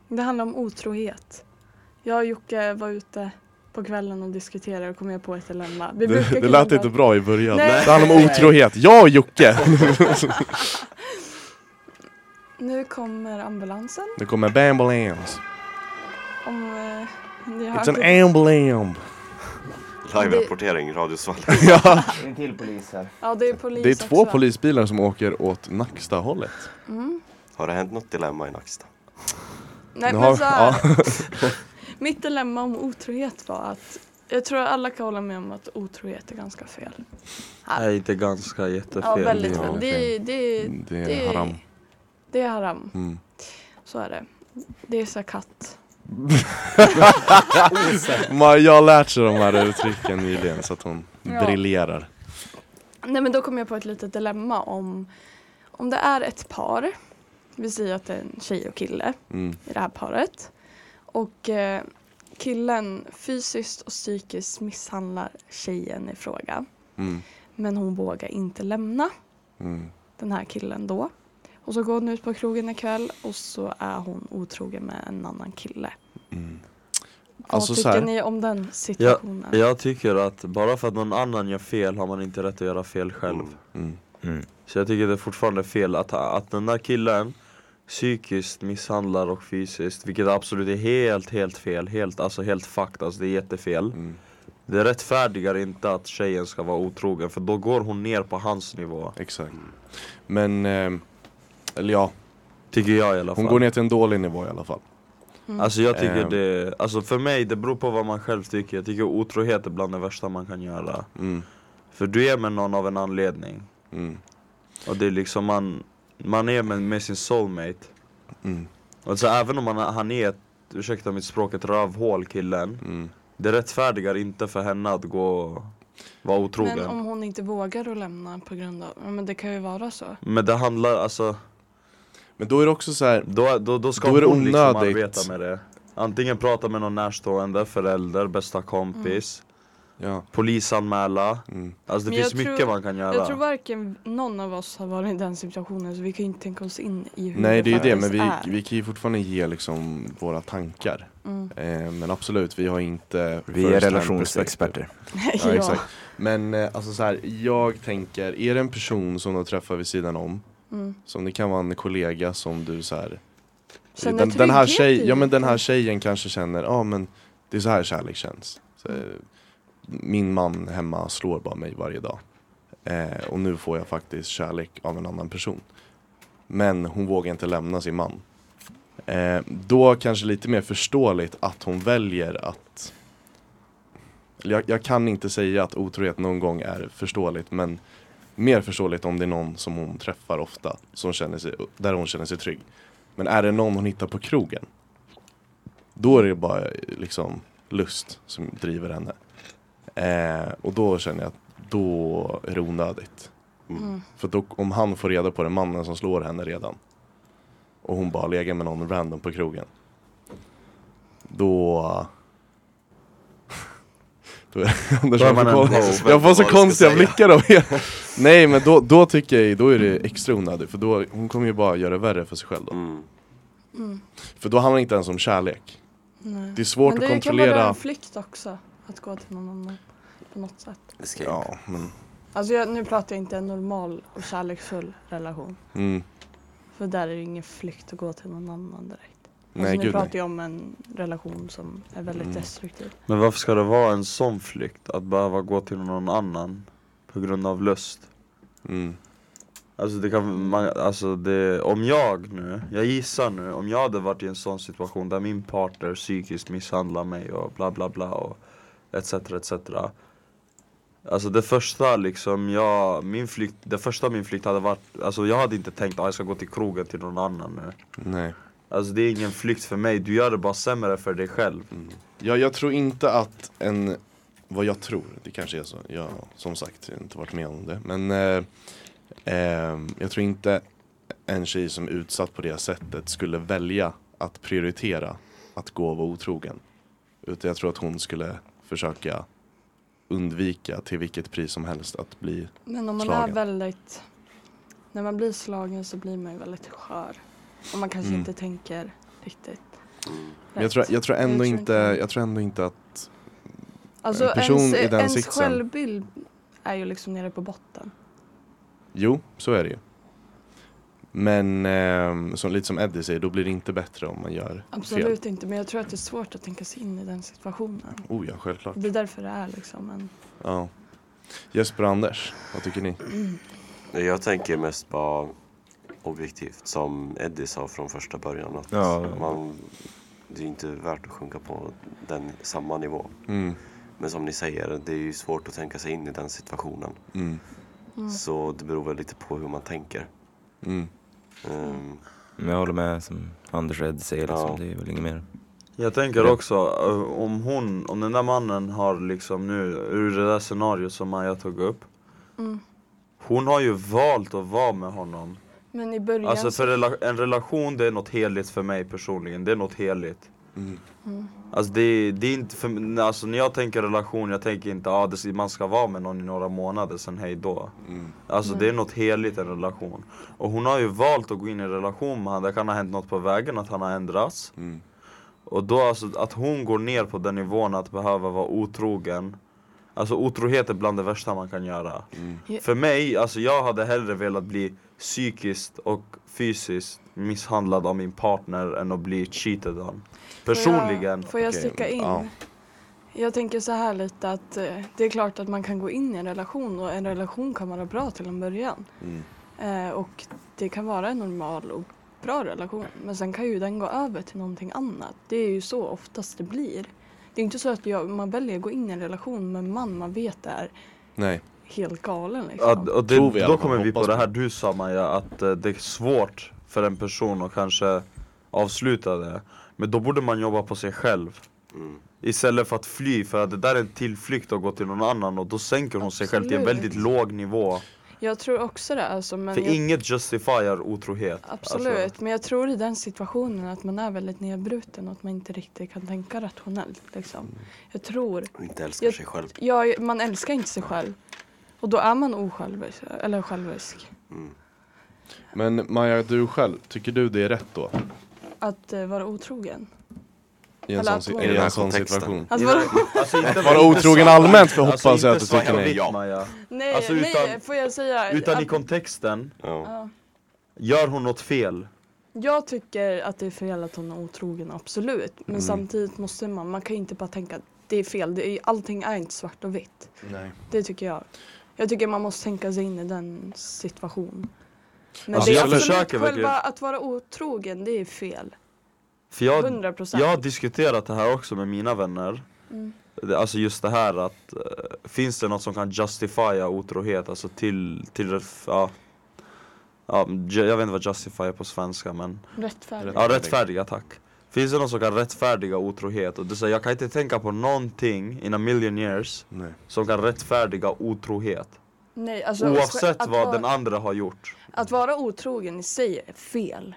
[SPEAKER 3] det handlar om otrohet. Jag och Jocke var ute på kvällen och diskuterade och kom jag på ett dilemma. Vi brukar
[SPEAKER 2] Det, det
[SPEAKER 3] kunna
[SPEAKER 2] lät inte
[SPEAKER 3] bara-
[SPEAKER 2] bra i början.
[SPEAKER 3] Nej.
[SPEAKER 2] Det handlar om otrohet. Ja Jocke!
[SPEAKER 3] Nu kommer ambulansen.
[SPEAKER 2] Nu kommer Bambalams.
[SPEAKER 3] Om, eh, ni har
[SPEAKER 2] It's
[SPEAKER 3] hört
[SPEAKER 2] an ambulam.
[SPEAKER 5] Live-rapportering, Radiosvallet.
[SPEAKER 4] En till polis här.
[SPEAKER 3] Ja, det är polis
[SPEAKER 2] Det är två
[SPEAKER 3] också.
[SPEAKER 2] polisbilar som åker åt Nacksta-hållet.
[SPEAKER 5] Har det hänt något dilemma i Nacksta?
[SPEAKER 3] Nej,
[SPEAKER 2] Nu
[SPEAKER 3] men
[SPEAKER 2] har-
[SPEAKER 3] så här, Mitt dilemma om otrohet var att jag tror alla kan hålla med om att otrohet är ganska fel.
[SPEAKER 6] Nej, inte ganska jättefel.
[SPEAKER 3] Ja, väldigt
[SPEAKER 2] Ja,
[SPEAKER 3] fel. Det,
[SPEAKER 2] okej.
[SPEAKER 3] det,
[SPEAKER 2] Det är haram.
[SPEAKER 3] Det är haram.
[SPEAKER 2] Mm.
[SPEAKER 3] Så är det. Det är sakat.
[SPEAKER 2] Maja har lärt sig de här uttrycken nyligen så att hon
[SPEAKER 3] Ja.
[SPEAKER 2] briljerar.
[SPEAKER 3] Nej men då kom jag på ett litet dilemma om om det är ett par. Vi säger att det är en tjej och kille
[SPEAKER 2] Mm.
[SPEAKER 3] i det här paret. Och eh, killen fysiskt och psykiskt misshandlar tjejen i fråga.
[SPEAKER 2] Mm.
[SPEAKER 3] Men hon vågar inte lämna
[SPEAKER 2] Mm.
[SPEAKER 3] den här killen då. Och så går hon ut på krogen en kväll och så är hon otrogen med en annan kille.
[SPEAKER 2] Alltså
[SPEAKER 3] Vad
[SPEAKER 2] så
[SPEAKER 3] tycker
[SPEAKER 2] här-
[SPEAKER 3] ni om den
[SPEAKER 6] Jag,
[SPEAKER 3] situationen?
[SPEAKER 6] jag tycker att bara för att någon annan gör fel har man inte rätt att göra fel själv.
[SPEAKER 2] Mm.
[SPEAKER 4] Mm.
[SPEAKER 6] Så jag tycker det är fortfarande fel att, att den där killen psykiskt misshandlar och fysiskt, vilket absolut är helt, helt fel. Helt, alltså helt fucked, alltså det är jättefel.
[SPEAKER 2] Mm.
[SPEAKER 6] Det rättfärdigar inte att tjejen ska vara otrogen för då går hon ner på hans nivå.
[SPEAKER 2] Exakt. Men, ehm, eller ja,
[SPEAKER 6] Tycker jag i alla fall.
[SPEAKER 3] Alltså.
[SPEAKER 2] hon går ner till en dålig nivå i alla fall.
[SPEAKER 6] Alltså jag tycker
[SPEAKER 2] Ehm.
[SPEAKER 6] det, alltså för mig det beror på vad man själv tycker. Jag tycker otrohet är bland det värsta man kan göra.
[SPEAKER 2] Mm.
[SPEAKER 6] För du är med någon av en anledning.
[SPEAKER 2] Mm.
[SPEAKER 6] Och det är liksom man, man är med, med sin soulmate.
[SPEAKER 2] Mm.
[SPEAKER 6] Alltså även om man, han är, ett, ursäkta mitt språk, ett rövhål killen.
[SPEAKER 2] Mm.
[SPEAKER 6] Det rättfärdigar inte för henne att gå och vara otrogen.
[SPEAKER 3] Men
[SPEAKER 6] Men,
[SPEAKER 3] om hon inte vågar att lämna på grund av, ja, men det kan ju vara så.
[SPEAKER 6] det handlar alltså,
[SPEAKER 2] Men då är det också så här,
[SPEAKER 6] då, då, då ska
[SPEAKER 2] Då är det
[SPEAKER 6] hon liksom
[SPEAKER 2] onödigt.
[SPEAKER 6] arbeta med det. Antingen prata med någon närstående, förälder, bästa kompis.
[SPEAKER 2] ja.
[SPEAKER 6] Polisanmäla.
[SPEAKER 2] Mm.
[SPEAKER 6] Alltså det
[SPEAKER 3] Mm. Men jag
[SPEAKER 6] finns
[SPEAKER 3] tror-
[SPEAKER 6] mycket man kan göra.
[SPEAKER 3] Jag tror varken någon av oss har varit i den situationen så vi kan ju inte tänka oss in i hur
[SPEAKER 2] Nej det är ju det, men
[SPEAKER 3] faktiskt
[SPEAKER 2] vi,
[SPEAKER 3] är.
[SPEAKER 2] vi kan ju fortfarande ge liksom våra tankar.
[SPEAKER 3] Mm.
[SPEAKER 2] Eh, men absolut, vi har inte
[SPEAKER 4] Vi är
[SPEAKER 2] first-hand
[SPEAKER 4] relationsexperter.
[SPEAKER 2] perspective. Ja, exakt. Men eh, alltså så här, jag tänker, är det en person som du träffar vid sidan om,
[SPEAKER 3] Mm.
[SPEAKER 2] som det kan vara en kollega som du så här,
[SPEAKER 3] Känner
[SPEAKER 2] den, den, här
[SPEAKER 3] trygghet
[SPEAKER 2] tjej,
[SPEAKER 3] i
[SPEAKER 2] ja, men den här
[SPEAKER 3] det.
[SPEAKER 2] tjejen kanske känner, ja ah, men det är så här kärlek känns. Så, eh, min man hemma slår bara mig varje dag. Eh, och nu får jag faktiskt kärlek av en annan person. Men hon vågar inte lämna sin man. Eh, då kanske lite mer förståeligt att hon väljer att Eller jag, jag kan inte säga att otrohet någon gång är förståeligt men mer förståeligt om det är någon som hon träffar ofta som känner sig, där hon känner sig trygg. Men är det någon hon hittar på krogen då är det bara eh, liksom lust som driver henne. Eh, och då känner jag att då är det onödigt.
[SPEAKER 3] Mm.
[SPEAKER 2] För då, om han får reda på det, mannen som slår henne redan och hon bara lägger med någon random på krogen då... då är Anders,
[SPEAKER 6] Då är
[SPEAKER 2] jag
[SPEAKER 6] man en
[SPEAKER 2] får-
[SPEAKER 6] hoe.
[SPEAKER 2] jag får så
[SPEAKER 5] Vad du ska
[SPEAKER 2] konstiga
[SPEAKER 5] säga.
[SPEAKER 2] blickar av er. Nej men då, då tycker jag ju- då är det extra onödigt för då, hon kommer ju bara göra det värre för sig själv då.
[SPEAKER 5] Mm.
[SPEAKER 2] För då handlar det inte ens om kärlek.
[SPEAKER 3] Nej.
[SPEAKER 2] Det är svårt
[SPEAKER 3] men
[SPEAKER 2] att
[SPEAKER 3] det kan vara
[SPEAKER 2] kontrollera.
[SPEAKER 3] en flykt också att gå till någon annan på något sätt.
[SPEAKER 5] Escape.
[SPEAKER 2] Ja, mm, men,
[SPEAKER 3] Alltså jag, nu pratar jag inte en normal och kärleksfull relation.
[SPEAKER 2] mm,
[SPEAKER 3] För där är det ju ingen flykt att gå till någon annan direkt.
[SPEAKER 2] nej
[SPEAKER 3] alltså, nu
[SPEAKER 2] gud nej.
[SPEAKER 3] pratar jag om en relation som är väldigt
[SPEAKER 2] Mm.
[SPEAKER 3] destruktiv.
[SPEAKER 6] Men varför ska det vara en sån flykt? Att behöva gå till någon annan på grund av lust?
[SPEAKER 2] Mm,
[SPEAKER 6] Alltså det kan, man, alltså det, om jag nu, jag gissar nu, om jag hade varit i en sån situation där min partner psykiskt misshandlar mig och bla bla bla och etc etc. Alltså det första liksom jag, min flykt, det första min flykt hade varit, alltså jag hade inte tänkt att jag ska gå till krogen till någon annan nu.
[SPEAKER 2] nej.
[SPEAKER 6] Alltså det är ingen flykt för mig, du gör det bara sämre för dig själv.
[SPEAKER 2] Ja, jag tror inte att en vad jag tror, det kanske är så. Jag har som sagt inte varit med om det. Men eh, eh, jag tror inte en tjej som är utsatt på det sättet skulle välja att prioritera att gå och vara otrogen. Utan jag tror att hon skulle försöka undvika till vilket pris som helst att bli
[SPEAKER 3] Men om man
[SPEAKER 2] Slagen.
[SPEAKER 3] är väldigt, när man blir slagen så blir man ju väldigt skör. Och man kanske
[SPEAKER 2] Mm.
[SPEAKER 3] inte tänker riktigt.
[SPEAKER 2] Men jag tror,
[SPEAKER 3] rätt.
[SPEAKER 2] jag, tror ändå
[SPEAKER 3] tror
[SPEAKER 2] inte,
[SPEAKER 3] inte-
[SPEAKER 2] jag tror ändå inte att
[SPEAKER 3] Alltså
[SPEAKER 2] en person
[SPEAKER 3] ens,
[SPEAKER 2] i den
[SPEAKER 3] ens
[SPEAKER 2] sitsen-
[SPEAKER 3] självbild är ju liksom nere på botten.
[SPEAKER 2] Jo, så är det ju Men eh, som, lite som Eddie säger, då blir det inte bättre om man gör
[SPEAKER 3] Absolut
[SPEAKER 2] fel
[SPEAKER 3] inte, men jag tror att det är svårt att tänka sig in i den situationen.
[SPEAKER 2] Oh ja, självklart
[SPEAKER 3] Det är därför det är liksom en...
[SPEAKER 2] ja. Jesper och Anders, vad tycker ni?
[SPEAKER 5] Nej, Mm. Jag tänker mest bara objektivt som Eddie sa från första början. Att
[SPEAKER 4] Ja.
[SPEAKER 5] man, det är inte värt att sjunka på den samma nivå.
[SPEAKER 2] Mm,
[SPEAKER 5] Men som ni säger, det är ju svårt att tänka sig in i den situationen.
[SPEAKER 2] mm,
[SPEAKER 5] Så det beror väl lite på hur man tänker.
[SPEAKER 2] mm.
[SPEAKER 3] Mm.
[SPEAKER 5] Ehm,
[SPEAKER 4] Men jag håller med som Anders Red säger, liksom.
[SPEAKER 5] Ja.
[SPEAKER 4] det är väl inget mer.
[SPEAKER 6] Jag tänker också, eh, om hon, om den där mannen har liksom nu, ur det där scenariot som Maja tog upp
[SPEAKER 3] Mm.
[SPEAKER 6] Hon har ju valt att vara med honom
[SPEAKER 3] Men i början...
[SPEAKER 6] Alltså för rela- en relation det är något heligt för mig personligen, det är något heligt
[SPEAKER 2] Mm.
[SPEAKER 6] Alltså det, det är inte för mig- alltså när jag tänker relation, jag tänker inte att ah, det- man ska vara med någon i några månader, sen hej då Alltså det är något heligt i en relation Och hon har ju valt att gå in i en relation med honom, det kan ha hänt något på vägen, att han har ändrats
[SPEAKER 2] Mm.
[SPEAKER 6] och då alltså att hon går ner på den nivån att behöva vara otrogen Alltså otrohet är bland det värsta man kan göra
[SPEAKER 2] Mm.
[SPEAKER 3] Ja.
[SPEAKER 6] För mig, alltså jag hade hellre velat bli psykiskt och fysiskt misshandlad av min partner än att bli cheated on Personligen
[SPEAKER 3] Får jag,
[SPEAKER 2] Okej,
[SPEAKER 3] får
[SPEAKER 2] mm,
[SPEAKER 3] jag sticka in?
[SPEAKER 2] ja.
[SPEAKER 3] Jag tänker så här lite att eh, det är klart att man kan gå in i en relation och en relation kan vara bra till en början.
[SPEAKER 2] Mm.
[SPEAKER 3] Eh, och det kan vara en normal och bra relation. Men sen kan ju den gå över till någonting annat. Det är ju så oftast det blir. Det är inte så att jag, man väljer att gå in i en relation med en man man vet är
[SPEAKER 2] Nej,
[SPEAKER 3] helt galen liksom.
[SPEAKER 6] Ja, d- och
[SPEAKER 2] Tror vi i
[SPEAKER 6] det,
[SPEAKER 2] alla
[SPEAKER 6] Då
[SPEAKER 2] fall,
[SPEAKER 6] kommer vi på
[SPEAKER 2] hoppas
[SPEAKER 6] det
[SPEAKER 2] vi.
[SPEAKER 6] här du sa Maja, att eh, det är svårt för en person att kanske avsluta det Men då borde man jobba på sig själv
[SPEAKER 5] Mm.
[SPEAKER 6] Istället för att fly, för att det där är en tillflykt att gå till någon annan och då sänker hon sig själv till en
[SPEAKER 3] Absolut.
[SPEAKER 6] väldigt låg nivå
[SPEAKER 3] Jag tror också det alltså. Men
[SPEAKER 6] För
[SPEAKER 3] jag,
[SPEAKER 6] inget justifierar otrohet
[SPEAKER 3] Absolut,
[SPEAKER 6] Alltså,
[SPEAKER 3] men jag tror i den situationen att man är väldigt nedbruten och att man inte riktigt kan tänka rationellt. Liksom. Jag tror,
[SPEAKER 5] och inte älskar
[SPEAKER 3] Jag-
[SPEAKER 5] sig själv.
[SPEAKER 3] ja, man älskar inte sig själv och då är man osjälvisk, eller självisk.
[SPEAKER 5] Mm.
[SPEAKER 2] men Maja du själv, tycker du det är rätt då?
[SPEAKER 3] Att eh, vara otrogen.
[SPEAKER 2] I en
[SPEAKER 3] Eller
[SPEAKER 2] sån,
[SPEAKER 3] att-
[SPEAKER 2] si-
[SPEAKER 3] I
[SPEAKER 2] i
[SPEAKER 5] den här
[SPEAKER 2] en sån
[SPEAKER 5] kontexten.
[SPEAKER 2] situation?
[SPEAKER 3] Alltså, vadå?
[SPEAKER 6] alltså, inte alltså,
[SPEAKER 2] Vara otrogen allmänt för hoppas
[SPEAKER 6] inte
[SPEAKER 2] jag att du
[SPEAKER 6] svart
[SPEAKER 2] tycker
[SPEAKER 6] på
[SPEAKER 2] nej.
[SPEAKER 6] vitt,
[SPEAKER 5] Ja.
[SPEAKER 6] Maja.
[SPEAKER 3] nej,
[SPEAKER 6] Alltså,
[SPEAKER 3] nej,
[SPEAKER 6] utan-
[SPEAKER 3] får jag säga?
[SPEAKER 6] Utan i
[SPEAKER 3] att-
[SPEAKER 6] kontexten,
[SPEAKER 5] Ja.
[SPEAKER 3] ja.
[SPEAKER 6] gör hon något fel?
[SPEAKER 3] Jag tycker att det är fel att hon är otrogen, absolut.
[SPEAKER 6] Mm.
[SPEAKER 3] Men samtidigt måste man, man kan ju inte bara tänka att det är fel, det är, allting är inte svart och vitt.
[SPEAKER 2] Nej.
[SPEAKER 3] Det tycker jag. Jag tycker man måste tänka sig in i den situationen. Men
[SPEAKER 6] Alltså,
[SPEAKER 3] det är
[SPEAKER 6] jag
[SPEAKER 3] absolut
[SPEAKER 6] försöker
[SPEAKER 3] själva
[SPEAKER 6] verkligen.
[SPEAKER 3] att vara otrogen, det är fel.
[SPEAKER 6] För jag,
[SPEAKER 3] 100 procent.
[SPEAKER 6] jag har diskuterat det här också med mina vänner Det- Alltså just det här att, eh, finns det något som kan justifiera otrohet? Alltså till, till ja, ja, ju- jag vet inte vad justify är på svenska men
[SPEAKER 3] Rättfärdig.
[SPEAKER 6] Ja, rättfärdiga tack. Finns det någon som kan rättfärdiga otrohet? Och det säger, jag kan inte tänka på någonting in a million years
[SPEAKER 2] Nej.
[SPEAKER 6] som kan rättfärdiga otrohet.
[SPEAKER 3] Nej, alltså,
[SPEAKER 6] Oavsett
[SPEAKER 3] att
[SPEAKER 6] vad
[SPEAKER 3] vara,
[SPEAKER 6] den andra har gjort.
[SPEAKER 3] Att vara otrogen i sig är fel.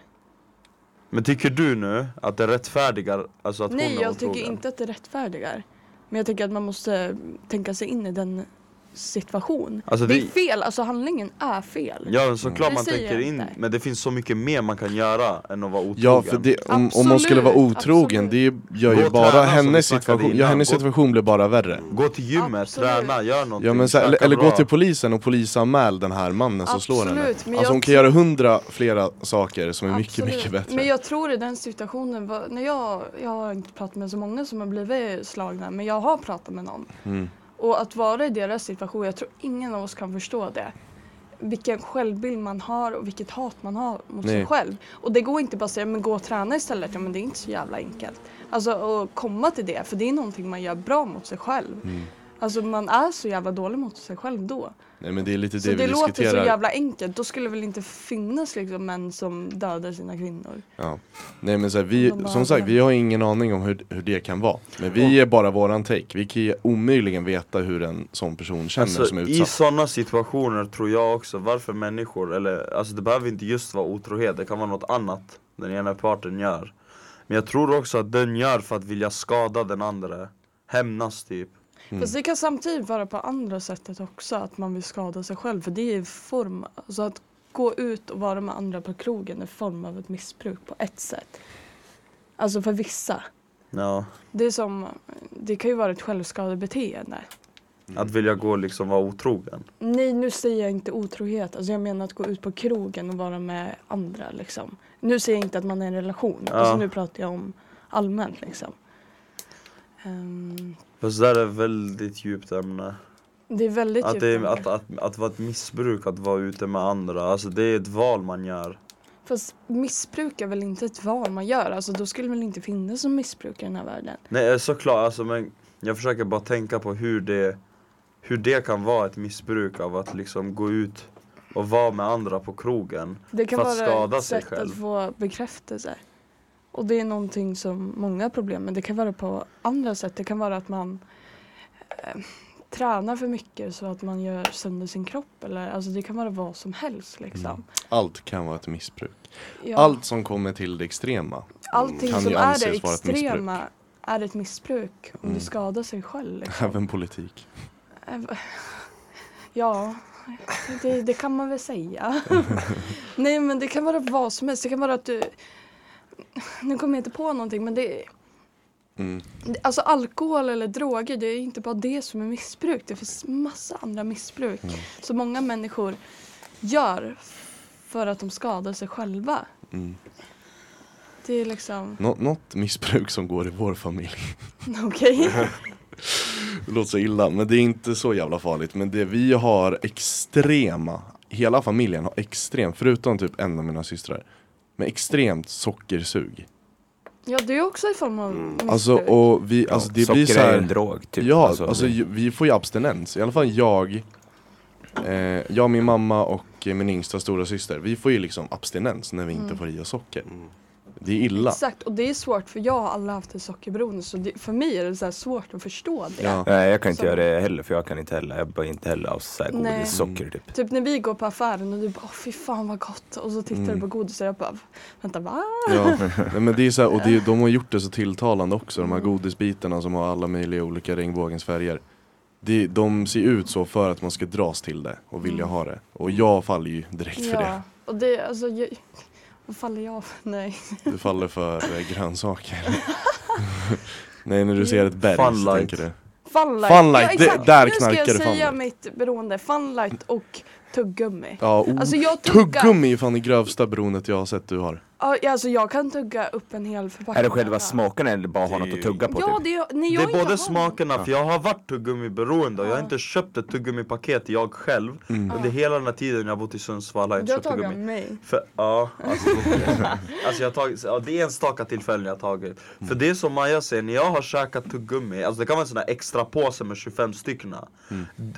[SPEAKER 6] Men tycker du nu att det rättfärdigar alltså att
[SPEAKER 3] Nej,
[SPEAKER 6] hon är
[SPEAKER 3] jag
[SPEAKER 6] otrogen?
[SPEAKER 3] tycker inte att det rättfärdigar. Men jag tycker att man måste tänka sig in i den situation.
[SPEAKER 6] Alltså,
[SPEAKER 3] det är
[SPEAKER 6] det-
[SPEAKER 3] fel, alltså handlingen är fel.
[SPEAKER 6] Ja, men såklart
[SPEAKER 3] Det
[SPEAKER 6] man
[SPEAKER 3] säger
[SPEAKER 6] tänker
[SPEAKER 3] jag
[SPEAKER 6] in,
[SPEAKER 3] inte.
[SPEAKER 6] men det finns så mycket mer man kan göra än att vara otrogen.
[SPEAKER 2] Ja, för det, om, om hon
[SPEAKER 3] Absolut,
[SPEAKER 2] skulle vara otrogen, det gör
[SPEAKER 6] Gå
[SPEAKER 2] ju
[SPEAKER 6] och
[SPEAKER 2] bara
[SPEAKER 6] träna, som vi
[SPEAKER 2] hennes
[SPEAKER 6] snackade
[SPEAKER 2] situation, ja
[SPEAKER 6] innan.
[SPEAKER 2] hennes
[SPEAKER 6] Gå-
[SPEAKER 2] situation blir bara värre
[SPEAKER 6] Gå till gymmet,
[SPEAKER 3] Absolut.
[SPEAKER 6] träna, gör någonting.
[SPEAKER 2] Ja men så, eller,
[SPEAKER 6] käka
[SPEAKER 2] eller gå
[SPEAKER 6] bra.
[SPEAKER 2] till polisen och polisanmäl den här mannen som slår henne
[SPEAKER 3] Absolut, men
[SPEAKER 2] Alltså
[SPEAKER 3] jag
[SPEAKER 2] hon kan göra hundra flera saker som är mycket,
[SPEAKER 3] Absolut.
[SPEAKER 2] mycket bättre
[SPEAKER 3] Men jag tror i den situationen, var- när jag, jag har inte pratat med så många som har blivit slagna, men jag har pratat med någon.
[SPEAKER 2] Mm.
[SPEAKER 3] Och att vara i deras situation, jag tror ingen av oss kan förstå det. Vilken självbild man har och vilket hat man har mot
[SPEAKER 2] Nej.
[SPEAKER 3] sig själv. Och det går inte bara att säga, men gå och träna istället. Ja men
[SPEAKER 2] Mm.
[SPEAKER 3] det är inte så jävla enkelt. Alltså att komma till det, för det är någonting man gör bra mot sig själv. Alltså man är så jävla dålig mot sig själv då.
[SPEAKER 2] Nej men det är lite det
[SPEAKER 3] så
[SPEAKER 2] vi
[SPEAKER 3] det låter
[SPEAKER 2] diskuterar.
[SPEAKER 3] så jävla enkelt. Då skulle det väl inte finnas liksom män som dödar sina kvinnor.
[SPEAKER 2] Ja. Nej men så här, vi,
[SPEAKER 3] De bara-
[SPEAKER 2] som sagt, vi har ingen aning om hur, hur det kan vara. Men vi ger bara våran take. Vi kan ju omöjligen veta hur en sån person känner som är
[SPEAKER 6] Alltså, I
[SPEAKER 2] utsatt.
[SPEAKER 6] sådana situationer tror jag också, varför människor, eller alltså det behöver inte just vara otrohet, det kan vara något annat den ena parten gör. Men jag tror också att den gör för att vilja skada den andra, hämnas typ.
[SPEAKER 2] Mm.
[SPEAKER 3] Fast det kan samtidigt vara på andra sättet också att man vill skada sig själv för det är en form, alltså att gå ut och vara med andra på krogen är en form av ett missbruk på ett sätt. Alltså för vissa.
[SPEAKER 6] Ja.
[SPEAKER 3] Det är som, det kan ju vara ett självskadebeteende.
[SPEAKER 2] Mm.
[SPEAKER 6] Att vilja gå liksom vara otrogen.
[SPEAKER 3] Nej nu säger jag inte otrohet, alltså jag menar att gå ut på krogen och vara med andra liksom. Nu säger jag inte att man är i en relation, alltså nu pratar jag om allmänt liksom. Ehm,
[SPEAKER 6] Fast det där är ett väldigt djupt ämne.
[SPEAKER 3] det är väldigt
[SPEAKER 6] Att,
[SPEAKER 3] djupt
[SPEAKER 6] det är,
[SPEAKER 3] ämne.
[SPEAKER 6] att, att, att vara ett missbruk, att vara ute med andra, alltså det är ett val man gör.
[SPEAKER 3] Fast missbruk är väl inte ett val man gör? Alltså då skulle det väl inte finnas som missbruk i den här världen?
[SPEAKER 6] Nej eh, såklart, alltså, men jag försöker bara tänka på hur det, hur det kan vara ett missbruk av att liksom gå ut och vara med andra på krogen.
[SPEAKER 3] Det kan
[SPEAKER 6] För att
[SPEAKER 3] vara
[SPEAKER 6] skada
[SPEAKER 3] ett
[SPEAKER 6] sig
[SPEAKER 3] sätt
[SPEAKER 6] själv.
[SPEAKER 3] att få bekräftelse. Och det är någonting som många har problem med. Det kan vara på andra sätt. Det kan vara att man eh, tränar för mycket så att man gör sönder sin kropp. Eller, alltså det kan vara vad som helst
[SPEAKER 6] Mm.
[SPEAKER 3] liksom.
[SPEAKER 2] Allt kan vara ett missbruk.
[SPEAKER 3] Ja,
[SPEAKER 2] Allt som kommer till det extrema.
[SPEAKER 3] allting
[SPEAKER 2] kan
[SPEAKER 3] som
[SPEAKER 2] ju
[SPEAKER 3] är det
[SPEAKER 2] anses vara ett missbruk. Mm.
[SPEAKER 3] extrema är ett missbruk. Om du skadar sig själv. Liksom.
[SPEAKER 2] Även politik.
[SPEAKER 3] Ev- Äh, Ja, det, det kan man väl säga. Nej men det kan vara vad som helst. Det kan vara att du... Nu kommer jag inte på någonting men det...
[SPEAKER 2] Mm.
[SPEAKER 3] det- Alltså alkohol eller droger det är inte bara det som är missbruk. Det finns massa andra missbruk
[SPEAKER 2] Mm.
[SPEAKER 3] som många människor gör för att de skadar sig själva.
[SPEAKER 2] Mm.
[SPEAKER 3] Det är liksom,
[SPEAKER 2] Nå- något missbruk som går i vår familj.
[SPEAKER 3] okej.
[SPEAKER 2] Det låter så illa, men det är inte så jävla farligt. Men det vi har extrema, hela familjen har extrem, förutom typ en av mina systrar. Men extremt sockersug.
[SPEAKER 3] Ja det är också en form av missbruk.
[SPEAKER 2] Alltså och vi, alltså det blir så
[SPEAKER 4] Socker är ju
[SPEAKER 2] här,
[SPEAKER 4] en drog typ.
[SPEAKER 2] Ja, alltså, ju- vi får ju abstinens. I alla fall jag, eh, jag, min mamma och eh, min yngsta stora syster. Vi får ju liksom abstinens när vi inte får i oss socker.
[SPEAKER 4] Mm.
[SPEAKER 2] Det är illa.
[SPEAKER 3] Exakt, och det är svårt för jag har aldrig haft en sockerberoende så det, för mig är det så här svårt att förstå det.
[SPEAKER 2] Ja.
[SPEAKER 4] Nej jag kan inte
[SPEAKER 3] Som-
[SPEAKER 4] göra det heller för jag kan inte heller, jag börjar inte heller av så här
[SPEAKER 3] Nej.
[SPEAKER 4] godis, socker typ.
[SPEAKER 3] Typ när vi går på affären och du bara "Åh, fy fan vad gott och så tittar
[SPEAKER 2] Mm.
[SPEAKER 3] du på godis och jag bara vänta va?
[SPEAKER 2] Ja. Nej, men det är så här, och det, är- de har gjort det så tilltalande också. De här godisbitarna som har alla möjliga olika regnbågens färger. Det, de ser ut så för att man ska dras till det och vilja ha det. Och jag faller ju direkt för det.
[SPEAKER 3] Ja, och det alltså jag, vad faller jag för? Nej.
[SPEAKER 2] Du faller för eh, grönsaker. Nej, när du ser ett berg så
[SPEAKER 6] Funlight.
[SPEAKER 2] tänker du.
[SPEAKER 3] Funlight!
[SPEAKER 2] Funlight, det- där
[SPEAKER 3] nu ska
[SPEAKER 2] knarkar
[SPEAKER 3] jag
[SPEAKER 2] det
[SPEAKER 3] säga
[SPEAKER 2] funlight.
[SPEAKER 3] mitt beroende, funlight och tuggummi.
[SPEAKER 2] Ja, oh,
[SPEAKER 3] Alltså jag tuggar,
[SPEAKER 2] Tuggummi är ju fan det grövsta beroendet jag har sett du har.
[SPEAKER 3] Ja, alltså jag kan tugga upp en hel förpackning.
[SPEAKER 4] Är det själva smaken eller bara ha något att tugga på
[SPEAKER 3] Ja
[SPEAKER 4] typ?
[SPEAKER 3] det, nej, jag
[SPEAKER 6] det är
[SPEAKER 3] inte
[SPEAKER 6] både
[SPEAKER 3] har-
[SPEAKER 6] smakerna, för jag har varit tuggummiberoende och jag har inte köpt ett tuggummipaket jag själv under hela den här tiden jag har bott i Sundsvall har jag
[SPEAKER 3] Du
[SPEAKER 6] inte
[SPEAKER 3] har
[SPEAKER 6] köpt
[SPEAKER 3] tagit av
[SPEAKER 6] tuggummi.
[SPEAKER 3] mig.
[SPEAKER 6] För, ja, alltså, alltså jag har tagit, ja, det är enstaka tillfällen jag har tagit. För det är som Maja säger, när jag har käkat tuggummi, alltså det kan vara en sån här extra påse med 25 stycken. D-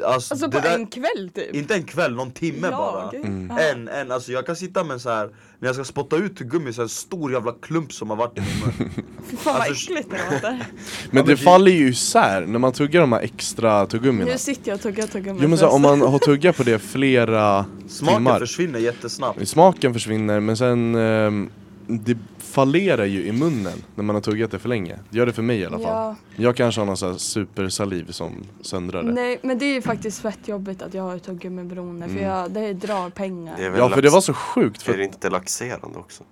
[SPEAKER 6] Alltså,
[SPEAKER 3] Alltså på
[SPEAKER 6] det där,
[SPEAKER 3] en kväll typ.
[SPEAKER 6] Inte en kväll, någon timme
[SPEAKER 3] Jag?
[SPEAKER 6] bara.
[SPEAKER 3] Mm.
[SPEAKER 6] En, en, alltså jag kan sitta med så här när jag ska spotta ut tuggummi så är det en stor jävla klump som har varit i min mun.
[SPEAKER 3] Fy fan vad
[SPEAKER 6] Alltså,
[SPEAKER 3] äckligt det låter.
[SPEAKER 2] Men det faller ju isär när man tuggar de här extra tuggummina.
[SPEAKER 3] Nu sitter jag och tuggar tuggummi.
[SPEAKER 2] Jo men så här, om man har tuggat på det flera
[SPEAKER 6] Smaken
[SPEAKER 2] timmar.
[SPEAKER 6] försvinner jättesnabbt.
[SPEAKER 2] Smaken försvinner men sen ehm, det fallerar ju i munnen när man har tuggat det för länge. Det gör det för mig i alla fall.
[SPEAKER 3] Ja.
[SPEAKER 2] Jag kanske har någon sån här supersaliv som söndrar det.
[SPEAKER 3] Nej men det är ju faktiskt fett jobbigt att jag har ett tuggummiberoende för jag, det drar pengar.
[SPEAKER 5] Det är väl
[SPEAKER 2] Ja för Mm. det
[SPEAKER 5] lax-
[SPEAKER 2] var så sjukt
[SPEAKER 5] Är
[SPEAKER 2] för
[SPEAKER 5] det inte laxerande också?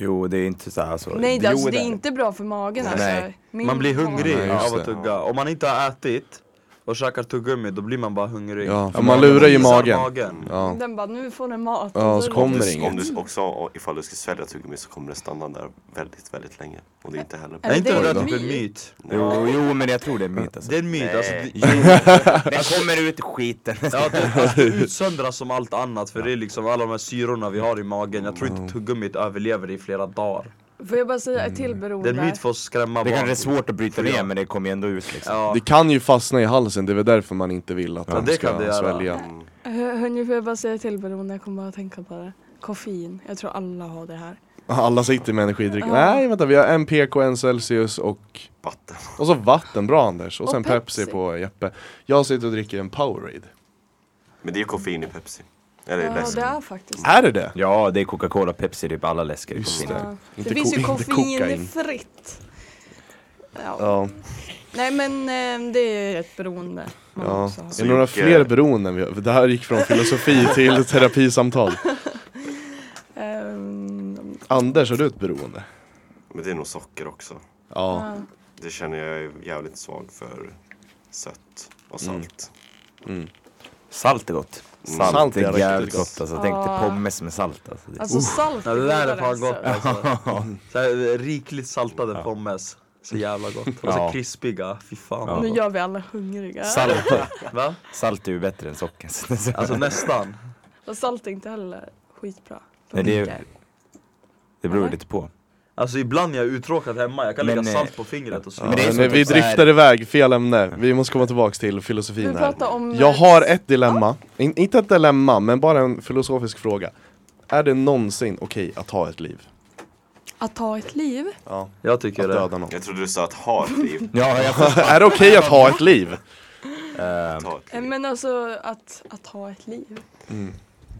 [SPEAKER 4] Jo det är inte så här så.
[SPEAKER 3] Nej det, alltså,
[SPEAKER 4] Jo,
[SPEAKER 3] det är
[SPEAKER 4] där.
[SPEAKER 3] inte bra för magen alltså.
[SPEAKER 4] Nej.
[SPEAKER 3] Min
[SPEAKER 6] Man blir
[SPEAKER 3] mage-
[SPEAKER 6] hungrig
[SPEAKER 2] Nej, just
[SPEAKER 6] av att
[SPEAKER 2] det.
[SPEAKER 6] tugga. Om man inte har ätit och käkar tuggummi då blir man bara hungrig.
[SPEAKER 2] Ja, för
[SPEAKER 6] Och
[SPEAKER 2] man lurar ju
[SPEAKER 6] visar
[SPEAKER 2] magen. Ja.
[SPEAKER 3] Den bara nu får den mat.
[SPEAKER 2] Ja,
[SPEAKER 3] Och
[SPEAKER 2] så kommer
[SPEAKER 5] Om
[SPEAKER 2] det
[SPEAKER 5] du-
[SPEAKER 2] inget.
[SPEAKER 5] Om du också, ifall du ska svälja tuggummi så kommer det stanna där väldigt, väldigt länge. Och det är inte heller bra.
[SPEAKER 3] Eller
[SPEAKER 6] Är inte
[SPEAKER 3] det
[SPEAKER 6] det
[SPEAKER 3] är
[SPEAKER 6] där
[SPEAKER 3] en
[SPEAKER 6] typ en
[SPEAKER 3] myt.
[SPEAKER 6] myt?
[SPEAKER 4] Jo, jo men jag tror det är myt alltså.
[SPEAKER 6] Det är en myt, alltså, det,
[SPEAKER 4] Den kommer ut i skiten.
[SPEAKER 6] ja, det, alltså, det utsöndras som allt annat för det är liksom alla de här syrorna vi har i magen. Jag tror inte tuggummit överlever i flera dagar.
[SPEAKER 3] Får jag bara säga ett
[SPEAKER 2] Mm.
[SPEAKER 3] till beroende?
[SPEAKER 6] Det är en myt för att
[SPEAKER 4] Det
[SPEAKER 6] skrämma barn.
[SPEAKER 4] kanske är svårt att bryta
[SPEAKER 6] För
[SPEAKER 4] ner
[SPEAKER 6] jag-
[SPEAKER 4] men det kommer ju ändå ut liksom.
[SPEAKER 6] Ja.
[SPEAKER 2] Det kan ju fastna i halsen, det är väl därför man inte vill att
[SPEAKER 6] Ja,
[SPEAKER 2] de
[SPEAKER 6] det kan det
[SPEAKER 2] ska
[SPEAKER 6] göra.
[SPEAKER 2] svälja
[SPEAKER 5] Mm,
[SPEAKER 3] Hör- Hörni, får jag bara säga till beroende? Jag kommer bara att tänka på det. Koffein. Jag tror alla har det här.
[SPEAKER 2] Alla sitter med energidryck,
[SPEAKER 3] Ja.
[SPEAKER 2] nej vänta vi har en PK, en Celsius och
[SPEAKER 5] Vatten.
[SPEAKER 2] Och så vatten, bra Anders. Och
[SPEAKER 3] Och
[SPEAKER 2] sen Pepsi.
[SPEAKER 3] Pepsi.
[SPEAKER 2] på Jeppe. Jag sitter och dricker en Powerade.
[SPEAKER 5] Men det är ju koffein i Pepsi. Eller
[SPEAKER 3] Ja,
[SPEAKER 5] läsk.
[SPEAKER 3] det är faktiskt.
[SPEAKER 2] Är det det?
[SPEAKER 4] Ja, det är Coca-Cola, Pepsi, typ alla läsker i
[SPEAKER 2] Just
[SPEAKER 4] koffein.
[SPEAKER 3] Ja. Det
[SPEAKER 2] Inte
[SPEAKER 3] finns
[SPEAKER 2] ko-
[SPEAKER 3] ju
[SPEAKER 2] inte
[SPEAKER 3] koffeinfritt. Ja.
[SPEAKER 2] Ja.
[SPEAKER 3] Nej men eh, det är ett beroende. Man
[SPEAKER 2] ja.
[SPEAKER 3] också har.
[SPEAKER 2] Är det några
[SPEAKER 5] Jocke-
[SPEAKER 2] fler beroenden? vi har? Det här gick från filosofi till terapisamtal.
[SPEAKER 3] Ehm,
[SPEAKER 2] Anders, har du ett beroende?
[SPEAKER 5] Men det är nog socker också.
[SPEAKER 2] Ja.
[SPEAKER 3] ja.
[SPEAKER 5] Det känner jag är jävligt svag för. Sött och salt.
[SPEAKER 2] Mm.
[SPEAKER 4] Salt är gott. Salt,
[SPEAKER 2] Salt är
[SPEAKER 4] är,
[SPEAKER 2] riktigt
[SPEAKER 4] jävligt
[SPEAKER 2] gott.
[SPEAKER 4] gott. Alltså, tänk dig
[SPEAKER 3] Ja.
[SPEAKER 4] pommes med salt. Alltså, det...
[SPEAKER 3] Ah. Alltså salt
[SPEAKER 6] Ja, det där är
[SPEAKER 3] godare
[SPEAKER 6] fan
[SPEAKER 3] än
[SPEAKER 6] gott
[SPEAKER 3] sött.
[SPEAKER 6] alltså. Så här, rikligt saltade pommes. Så jävla gott. Och
[SPEAKER 4] Ja.
[SPEAKER 6] så krispiga, fy fan.
[SPEAKER 4] Ja.
[SPEAKER 3] Nu gör vi alla hungriga.
[SPEAKER 4] Salt,
[SPEAKER 6] Va?
[SPEAKER 4] salt är ju bättre än socker. så det är så-
[SPEAKER 6] Alltså nästan.
[SPEAKER 3] Och salt är inte heller skitbra.
[SPEAKER 4] Nej, det, är,
[SPEAKER 3] Funkar.
[SPEAKER 4] det beror ju
[SPEAKER 3] Eller?
[SPEAKER 4] lite på.
[SPEAKER 6] Alltså ibland är jag uttråkad hemma, jag kan
[SPEAKER 4] Men,
[SPEAKER 6] lägga
[SPEAKER 4] eh,
[SPEAKER 6] salt på fingret och så.
[SPEAKER 4] men det är
[SPEAKER 2] Ja,
[SPEAKER 4] som
[SPEAKER 2] nej,
[SPEAKER 4] typ
[SPEAKER 2] vi
[SPEAKER 4] så här-
[SPEAKER 2] driftar iväg, fel ämne. Vi måste komma tillbaks till filosofin
[SPEAKER 3] Vi
[SPEAKER 2] här.
[SPEAKER 3] pratar om... eh,
[SPEAKER 2] Jag har ett dilemma. In, inte ett dilemma, men bara en filosofisk fråga. Är det någonsin okej att ha ett liv?
[SPEAKER 3] Att ta ett liv.
[SPEAKER 2] Ja.
[SPEAKER 6] Jag
[SPEAKER 2] Att
[SPEAKER 6] tycker det.
[SPEAKER 2] döda någon.
[SPEAKER 5] Jag trodde du sa att ha ett liv.
[SPEAKER 4] Ja, jag får...
[SPEAKER 2] Är det okej att ha ett liv?
[SPEAKER 4] eh,
[SPEAKER 5] Ta ett
[SPEAKER 3] Eh,
[SPEAKER 5] liv.
[SPEAKER 3] Men alltså att, att ha ett liv.
[SPEAKER 2] Mm.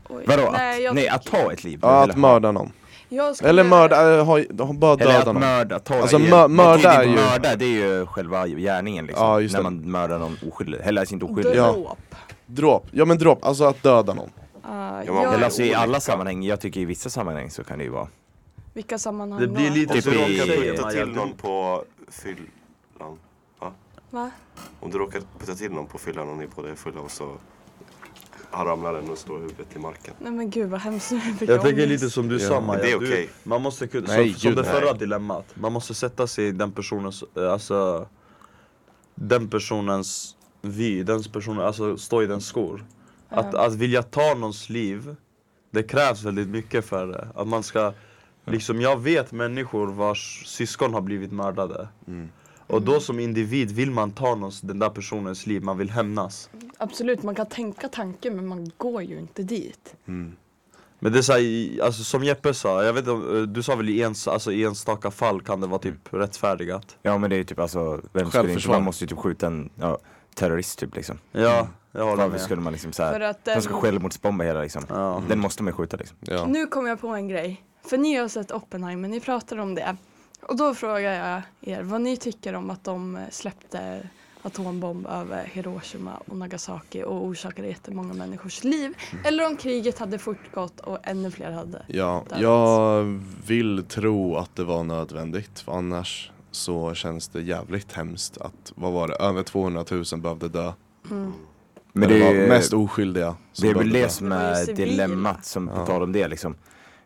[SPEAKER 3] Oj.
[SPEAKER 4] vadå? Att,
[SPEAKER 3] Nej, jag,
[SPEAKER 4] nej, att ta ett liv?
[SPEAKER 2] Ja,
[SPEAKER 4] Eller
[SPEAKER 2] att mörda någon.
[SPEAKER 3] jag skulle,
[SPEAKER 2] Eller mörda, äh, ha, ha bara
[SPEAKER 4] Eller
[SPEAKER 2] döda
[SPEAKER 4] att
[SPEAKER 2] någon.
[SPEAKER 4] mörda, ta
[SPEAKER 2] Alltså,
[SPEAKER 4] det
[SPEAKER 2] mör- mörda
[SPEAKER 4] det
[SPEAKER 2] är ju-
[SPEAKER 4] Mörda, det är ju själva gärningen liksom.
[SPEAKER 2] Ja, just
[SPEAKER 4] När
[SPEAKER 2] det.
[SPEAKER 4] man mördar någon oskyldig, eller alltså inte oskyldig.
[SPEAKER 3] Dråp.
[SPEAKER 2] Ja. Dråp, ja men dråp, alltså att döda någon.
[SPEAKER 3] Ah,
[SPEAKER 5] Ja, man-
[SPEAKER 3] jag-
[SPEAKER 4] Eller alltså i alla sammanhang, jag tycker i vissa sammanhang så kan det ju vara.
[SPEAKER 3] vilka sammanhang
[SPEAKER 6] Det blir
[SPEAKER 3] då?
[SPEAKER 6] lite
[SPEAKER 5] Om
[SPEAKER 4] Typ
[SPEAKER 5] du
[SPEAKER 4] i-
[SPEAKER 5] råkar
[SPEAKER 4] säger
[SPEAKER 5] putta
[SPEAKER 6] man
[SPEAKER 5] till
[SPEAKER 6] gör det.
[SPEAKER 5] någon på fyllan. Va?
[SPEAKER 3] Va?
[SPEAKER 5] Om du råkar putta till någon på fyllan och ni båda är fulla och så han ramlar den och slår huvudet i marken.
[SPEAKER 3] Nej men gud vad hemskt. Vilken
[SPEAKER 6] Jag tänker
[SPEAKER 3] ångest.
[SPEAKER 6] lite som du
[SPEAKER 2] Ja.
[SPEAKER 6] sa Maja,
[SPEAKER 5] Det är
[SPEAKER 6] Du-
[SPEAKER 5] okej.
[SPEAKER 6] man måste kunna,
[SPEAKER 2] Nej,
[SPEAKER 6] som, som
[SPEAKER 2] gud,
[SPEAKER 6] det
[SPEAKER 2] nej.
[SPEAKER 6] förra dilemmat, man måste sätta sig i den personens, eh, alltså den personens vy, den personen, alltså stå i den skor. Att, att vilja ta någons liv, det krävs väldigt mycket för det. Att man ska, liksom jag vet människor vars syskon har blivit mördade.
[SPEAKER 2] Mm.
[SPEAKER 6] Och då som individ vill man ta någons, den där personens liv, man vill hämnas.
[SPEAKER 3] Absolut, man kan tänka tanken men man går ju inte dit.
[SPEAKER 4] Mm.
[SPEAKER 6] Men det är så här, i- alltså som Jeppe sa, jag vet inte, om- eh, du sa väl i, ens, alltså, i enstaka fall kan det vara typ
[SPEAKER 4] Mm.
[SPEAKER 6] rättfärdigat?
[SPEAKER 4] Ja men det är ju typ alltså, vem skulle inte,
[SPEAKER 2] Självförsvar.
[SPEAKER 4] man måste ju typ skjuta en ja, terrorist typ liksom.
[SPEAKER 6] Ja, jag håller
[SPEAKER 4] Varför
[SPEAKER 6] med.
[SPEAKER 4] skulle man liksom såhär,
[SPEAKER 3] För att eh,
[SPEAKER 4] de
[SPEAKER 3] den-
[SPEAKER 4] ska självmordsbomba hela liksom.
[SPEAKER 6] Ja.
[SPEAKER 4] Den måste man ju skjuta liksom.
[SPEAKER 2] Ja.
[SPEAKER 3] Nu kom jag på en grej. För ni har sett Oppenheimer, ni pratar om det. Och då frågar jag er vad ni tycker om att de eh, släppte atombomb över Hiroshima och Nagasaki och orsakade jättemånga människors liv.
[SPEAKER 4] Mm.
[SPEAKER 3] Eller om kriget hade fortgått och ännu fler hade.
[SPEAKER 2] ja, jag vill tro att det var nödvändigt för annars så känns det jävligt hemskt att, vad var det, över 200 000 behövde dö.
[SPEAKER 4] Men
[SPEAKER 2] det
[SPEAKER 4] det är
[SPEAKER 2] var
[SPEAKER 4] ju,
[SPEAKER 2] mest oskyldiga som
[SPEAKER 4] det är väl
[SPEAKER 2] behövde dö.
[SPEAKER 4] det som
[SPEAKER 3] Det var ju
[SPEAKER 4] är
[SPEAKER 3] civila.
[SPEAKER 4] dilemmat som, på
[SPEAKER 2] Ja.
[SPEAKER 4] tal om det liksom.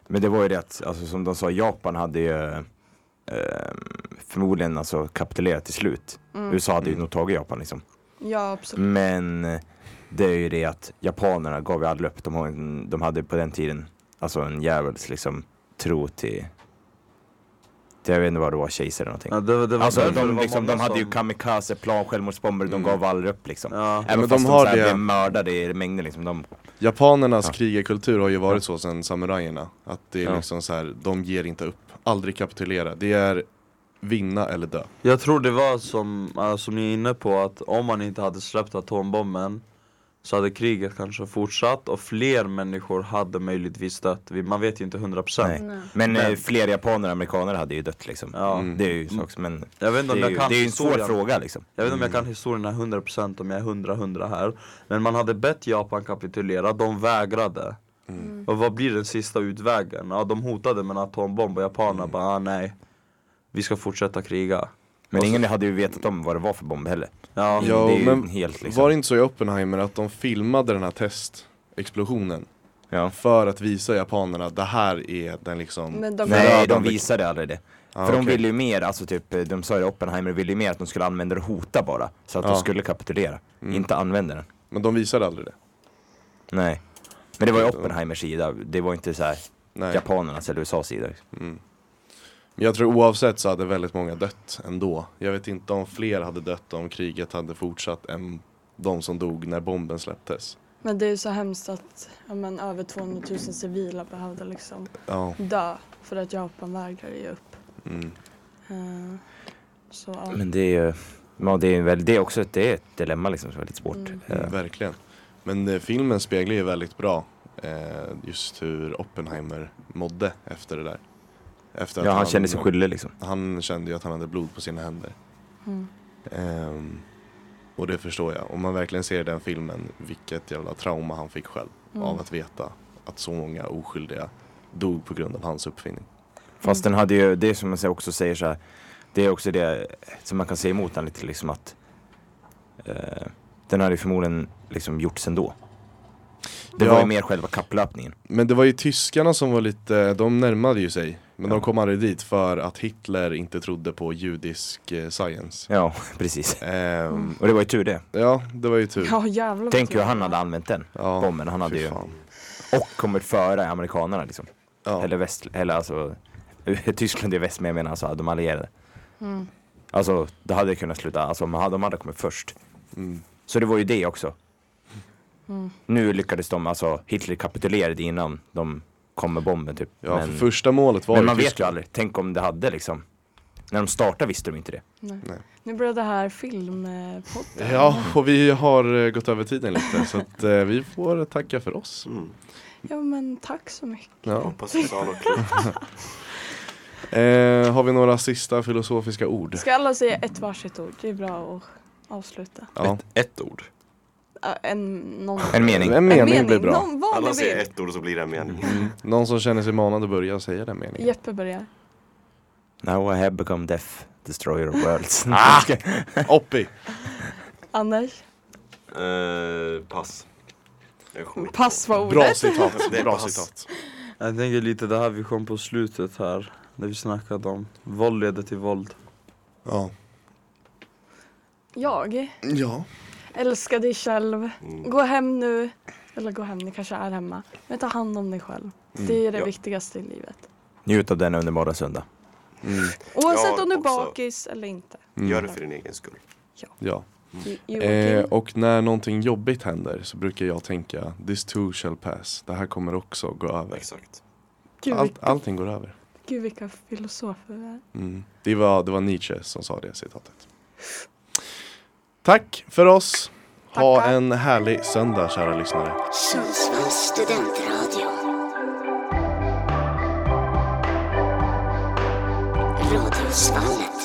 [SPEAKER 4] Men det var ju det att, alltså, som de sa, Japan hade ju eh, förmodligen alltså kapitulerat till slut.
[SPEAKER 3] Mm.
[SPEAKER 4] USA hade ju nog tagit Japan liksom.
[SPEAKER 3] Ja absolut.
[SPEAKER 4] Men det är ju det att japanerna gav ju aldrig upp. De, har en, de hade på den tiden alltså en djävuls liksom tro till, till jag vet inte vad det var, kejsare eller
[SPEAKER 6] Ja,
[SPEAKER 4] någonting.
[SPEAKER 6] det, var- det var
[SPEAKER 4] Alltså
[SPEAKER 6] därför det
[SPEAKER 4] de,
[SPEAKER 6] var
[SPEAKER 4] liksom,
[SPEAKER 6] många
[SPEAKER 4] de hade ju
[SPEAKER 6] som- Mm.
[SPEAKER 4] kamikazeplan, självmordsbomber, de gav aldrig upp liksom.
[SPEAKER 6] Ja.
[SPEAKER 4] Även
[SPEAKER 2] men de
[SPEAKER 4] fast de,
[SPEAKER 2] har
[SPEAKER 4] så här
[SPEAKER 2] det-
[SPEAKER 4] blev mördade i mängden liksom. De,
[SPEAKER 2] Japanernas
[SPEAKER 4] Ja.
[SPEAKER 2] krigarkultur har ju varit så sedan samurajerna. Att det är
[SPEAKER 4] Ja.
[SPEAKER 2] liksom så här, de ger inte upp. Aldrig kapitulera. Det är vinna eller dö.
[SPEAKER 6] Jag tror det var som, eh, som ni är inne på, att om man inte hade släppt atombomben så hade kriget kanske fortsatt och fler människor hade möjligtvis dött. Vi- Man vet ju inte 100%.
[SPEAKER 4] nej. Men, eh, fler japaner och amerikaner hade ju dött liksom.
[SPEAKER 6] Ja.
[SPEAKER 4] Mm. Det är ju så också, men
[SPEAKER 6] Jag vet
[SPEAKER 4] det
[SPEAKER 6] inte om
[SPEAKER 4] är
[SPEAKER 6] jag
[SPEAKER 4] ju,
[SPEAKER 6] kan
[SPEAKER 4] det är ju en svår
[SPEAKER 6] historien.
[SPEAKER 4] fråga liksom.
[SPEAKER 6] Jag vet inte om jag kan historien här 100% om jag är 100-100 här Men man hade bett Japan kapitulera, de vägrade Och vad blir den sista utvägen? Ja de hotade med en atombomb och japanerna bara ah, nej Vi ska fortsätta kriga
[SPEAKER 4] Men ingen hade ju vetat om vad det var för bomb heller.
[SPEAKER 6] Ja,
[SPEAKER 4] Ja.
[SPEAKER 2] Jo, Mm.
[SPEAKER 4] det är ju
[SPEAKER 2] men
[SPEAKER 4] helt, liksom.
[SPEAKER 2] Var det inte så i Oppenheimer att de filmade den här testexplosionen
[SPEAKER 4] Ja.
[SPEAKER 2] för att visa japanerna det här är den liksom
[SPEAKER 3] Men de-
[SPEAKER 4] Mm. Nej, de
[SPEAKER 2] förödande-
[SPEAKER 4] visade aldrig det.
[SPEAKER 2] Ah,
[SPEAKER 4] För de
[SPEAKER 2] okej.
[SPEAKER 4] ville ju mer, alltså typ, eh, de sa ju Oppenheimer ville ju mer att de skulle använda det och hota bara. Så att
[SPEAKER 2] Ja.
[SPEAKER 4] de skulle kapitulera, inte använda den.
[SPEAKER 2] Men de visade aldrig det.
[SPEAKER 4] Nej. Men det var ju Oppenheimers sida, liksom. det var inte så här
[SPEAKER 2] Nej.
[SPEAKER 4] japanernas eller USAs sida.
[SPEAKER 2] Men jag tror oavsett så hade väldigt många dött ändå. Jag vet inte om fler hade dött om kriget hade fortsatt än de som dog när bomben släpptes.
[SPEAKER 3] Men det är ju så hemskt att ja, men, över 200 000 civila behövde liksom
[SPEAKER 2] Ja,
[SPEAKER 3] dö för att Japan vägrade ge upp.
[SPEAKER 2] mm.
[SPEAKER 3] Eh, så ja.
[SPEAKER 4] Men det är ju, ja, det är ju väl, det är också ett, det är ett dilemma liksom som är väldigt svårt.
[SPEAKER 3] Mm.
[SPEAKER 4] Eh,
[SPEAKER 2] verkligen. Men eh, filmen speglar ju väldigt bra eh, just hur Oppenheimer mådde efter det där. Efter att
[SPEAKER 4] ja, han känner sig skyldig liksom.
[SPEAKER 2] Han kände ju att han hade blod på sina händer.
[SPEAKER 3] Mm.
[SPEAKER 2] Ehm, och det förstår jag. Om man verkligen ser i den filmen vilket jävla trauma han fick själv
[SPEAKER 3] Mm.
[SPEAKER 2] av att veta att så många oskyldiga dog på grund av hans uppfinning.
[SPEAKER 4] Fast den hade ju, det är som man också säger så här, det är också det som man kan säga emot den lite liksom att eh, den hade ju förmodligen liksom gjorts ändå. Det
[SPEAKER 2] Ja.
[SPEAKER 4] var ju mer själva kapplöpningen.
[SPEAKER 2] Men det var ju tyskarna som var lite, de närmade ju sig. Men de
[SPEAKER 4] Ja.
[SPEAKER 2] kom aldrig dit för att Hitler inte trodde på judisk eh, science.
[SPEAKER 4] Ja, precis.
[SPEAKER 2] Ehm,
[SPEAKER 4] Och det var ju tur det.
[SPEAKER 2] Ja, det var ju tur.
[SPEAKER 3] Mm. Ja jävlar. vad
[SPEAKER 4] Tänk hur
[SPEAKER 3] tur.
[SPEAKER 4] han hade använt den
[SPEAKER 2] Ja,
[SPEAKER 4] bomben. Han hade
[SPEAKER 2] fy
[SPEAKER 4] ju,
[SPEAKER 2] fan.
[SPEAKER 4] och kommit före amerikanerna liksom.
[SPEAKER 2] Ja.
[SPEAKER 4] Eller väst, eller alltså Tyskland är väst men jag menar alltså de allierade.
[SPEAKER 3] Mm.
[SPEAKER 4] Alltså det hade kunnat sluta, alltså om de hade kommit först.
[SPEAKER 2] Mm.
[SPEAKER 4] Så det var ju det också.
[SPEAKER 3] Mm.
[SPEAKER 4] Nu lyckades de, alltså Hitler kapitulerade innan de kom med bomben typ.
[SPEAKER 2] Ja,
[SPEAKER 4] men,
[SPEAKER 2] för första målet var
[SPEAKER 4] men man vet ju
[SPEAKER 2] Tyskland.
[SPEAKER 4] aldrig, tänk om det hade liksom. När de startade visste de inte det.
[SPEAKER 3] Nej.
[SPEAKER 2] Nej.
[SPEAKER 3] Nu börjar det här filmpodden.
[SPEAKER 2] Ja, och vi har eh, gått över tiden lite så att eh, vi får tacka för oss.
[SPEAKER 5] Mm.
[SPEAKER 3] ja men tack så mycket.
[SPEAKER 2] Ja.
[SPEAKER 5] Hoppas vi sa något klokt.
[SPEAKER 2] Eh, har vi några sista filosofiska ord?
[SPEAKER 3] Ska alla säga ett varsitt ord? Det är bra att avsluta.
[SPEAKER 2] Ja.
[SPEAKER 6] Ett, ett ord.
[SPEAKER 3] Ja, en, någon,
[SPEAKER 4] En mening.
[SPEAKER 2] En mening blir bra.
[SPEAKER 3] Någon, vad
[SPEAKER 5] Alla
[SPEAKER 3] ni
[SPEAKER 5] säger
[SPEAKER 3] vill.
[SPEAKER 5] ett ord och så blir det en mening.
[SPEAKER 4] Mm.
[SPEAKER 2] Någon som känner sig manad att börja säga den meningen.
[SPEAKER 3] Jeppe börjar.
[SPEAKER 4] Now I have become deaf, destroyer of worlds.
[SPEAKER 2] Ah! Oppi!
[SPEAKER 3] Anders?
[SPEAKER 5] Eh, pass. Jag kommer inte
[SPEAKER 3] Pass var ordet.
[SPEAKER 2] Bra citat,
[SPEAKER 5] Det är
[SPEAKER 2] bra
[SPEAKER 5] pass.
[SPEAKER 2] citat.
[SPEAKER 6] Jag tänker lite det här vi kom på slutet här, när vi snackade om våld leder till våld.
[SPEAKER 2] Ja.
[SPEAKER 3] Jag
[SPEAKER 2] ja.
[SPEAKER 3] älskar dig själv.
[SPEAKER 5] Mm.
[SPEAKER 3] Gå hem nu. Eller gå hem, ni kanske är hemma. Men ta hand om dig själv.
[SPEAKER 2] Mm.
[SPEAKER 3] Det är det
[SPEAKER 5] Ja.
[SPEAKER 3] viktigaste i livet.
[SPEAKER 4] Njut av den underbara söndag.
[SPEAKER 2] Mm.
[SPEAKER 3] Oavsett
[SPEAKER 5] Ja,
[SPEAKER 3] om du är
[SPEAKER 5] också.
[SPEAKER 3] bakis eller inte.
[SPEAKER 5] Gör det för din egen skull.
[SPEAKER 2] ja.
[SPEAKER 3] You, you
[SPEAKER 2] Eh,
[SPEAKER 3] okay?
[SPEAKER 2] och när någonting jobbigt händer så brukar jag tänka This too shall pass. Det här kommer också gå över.
[SPEAKER 5] Exakt.
[SPEAKER 3] Gud,
[SPEAKER 2] Allt, allting går över.
[SPEAKER 3] Gud vilka filosofer vi är.
[SPEAKER 2] Mm. Det, var, det var Nietzsche som sa det citatet. Tack för oss. Ha
[SPEAKER 3] Tackar.
[SPEAKER 2] en härlig söndag kära lyssnare.
[SPEAKER 1] Sundsvalls studentradio. Radhusvallet.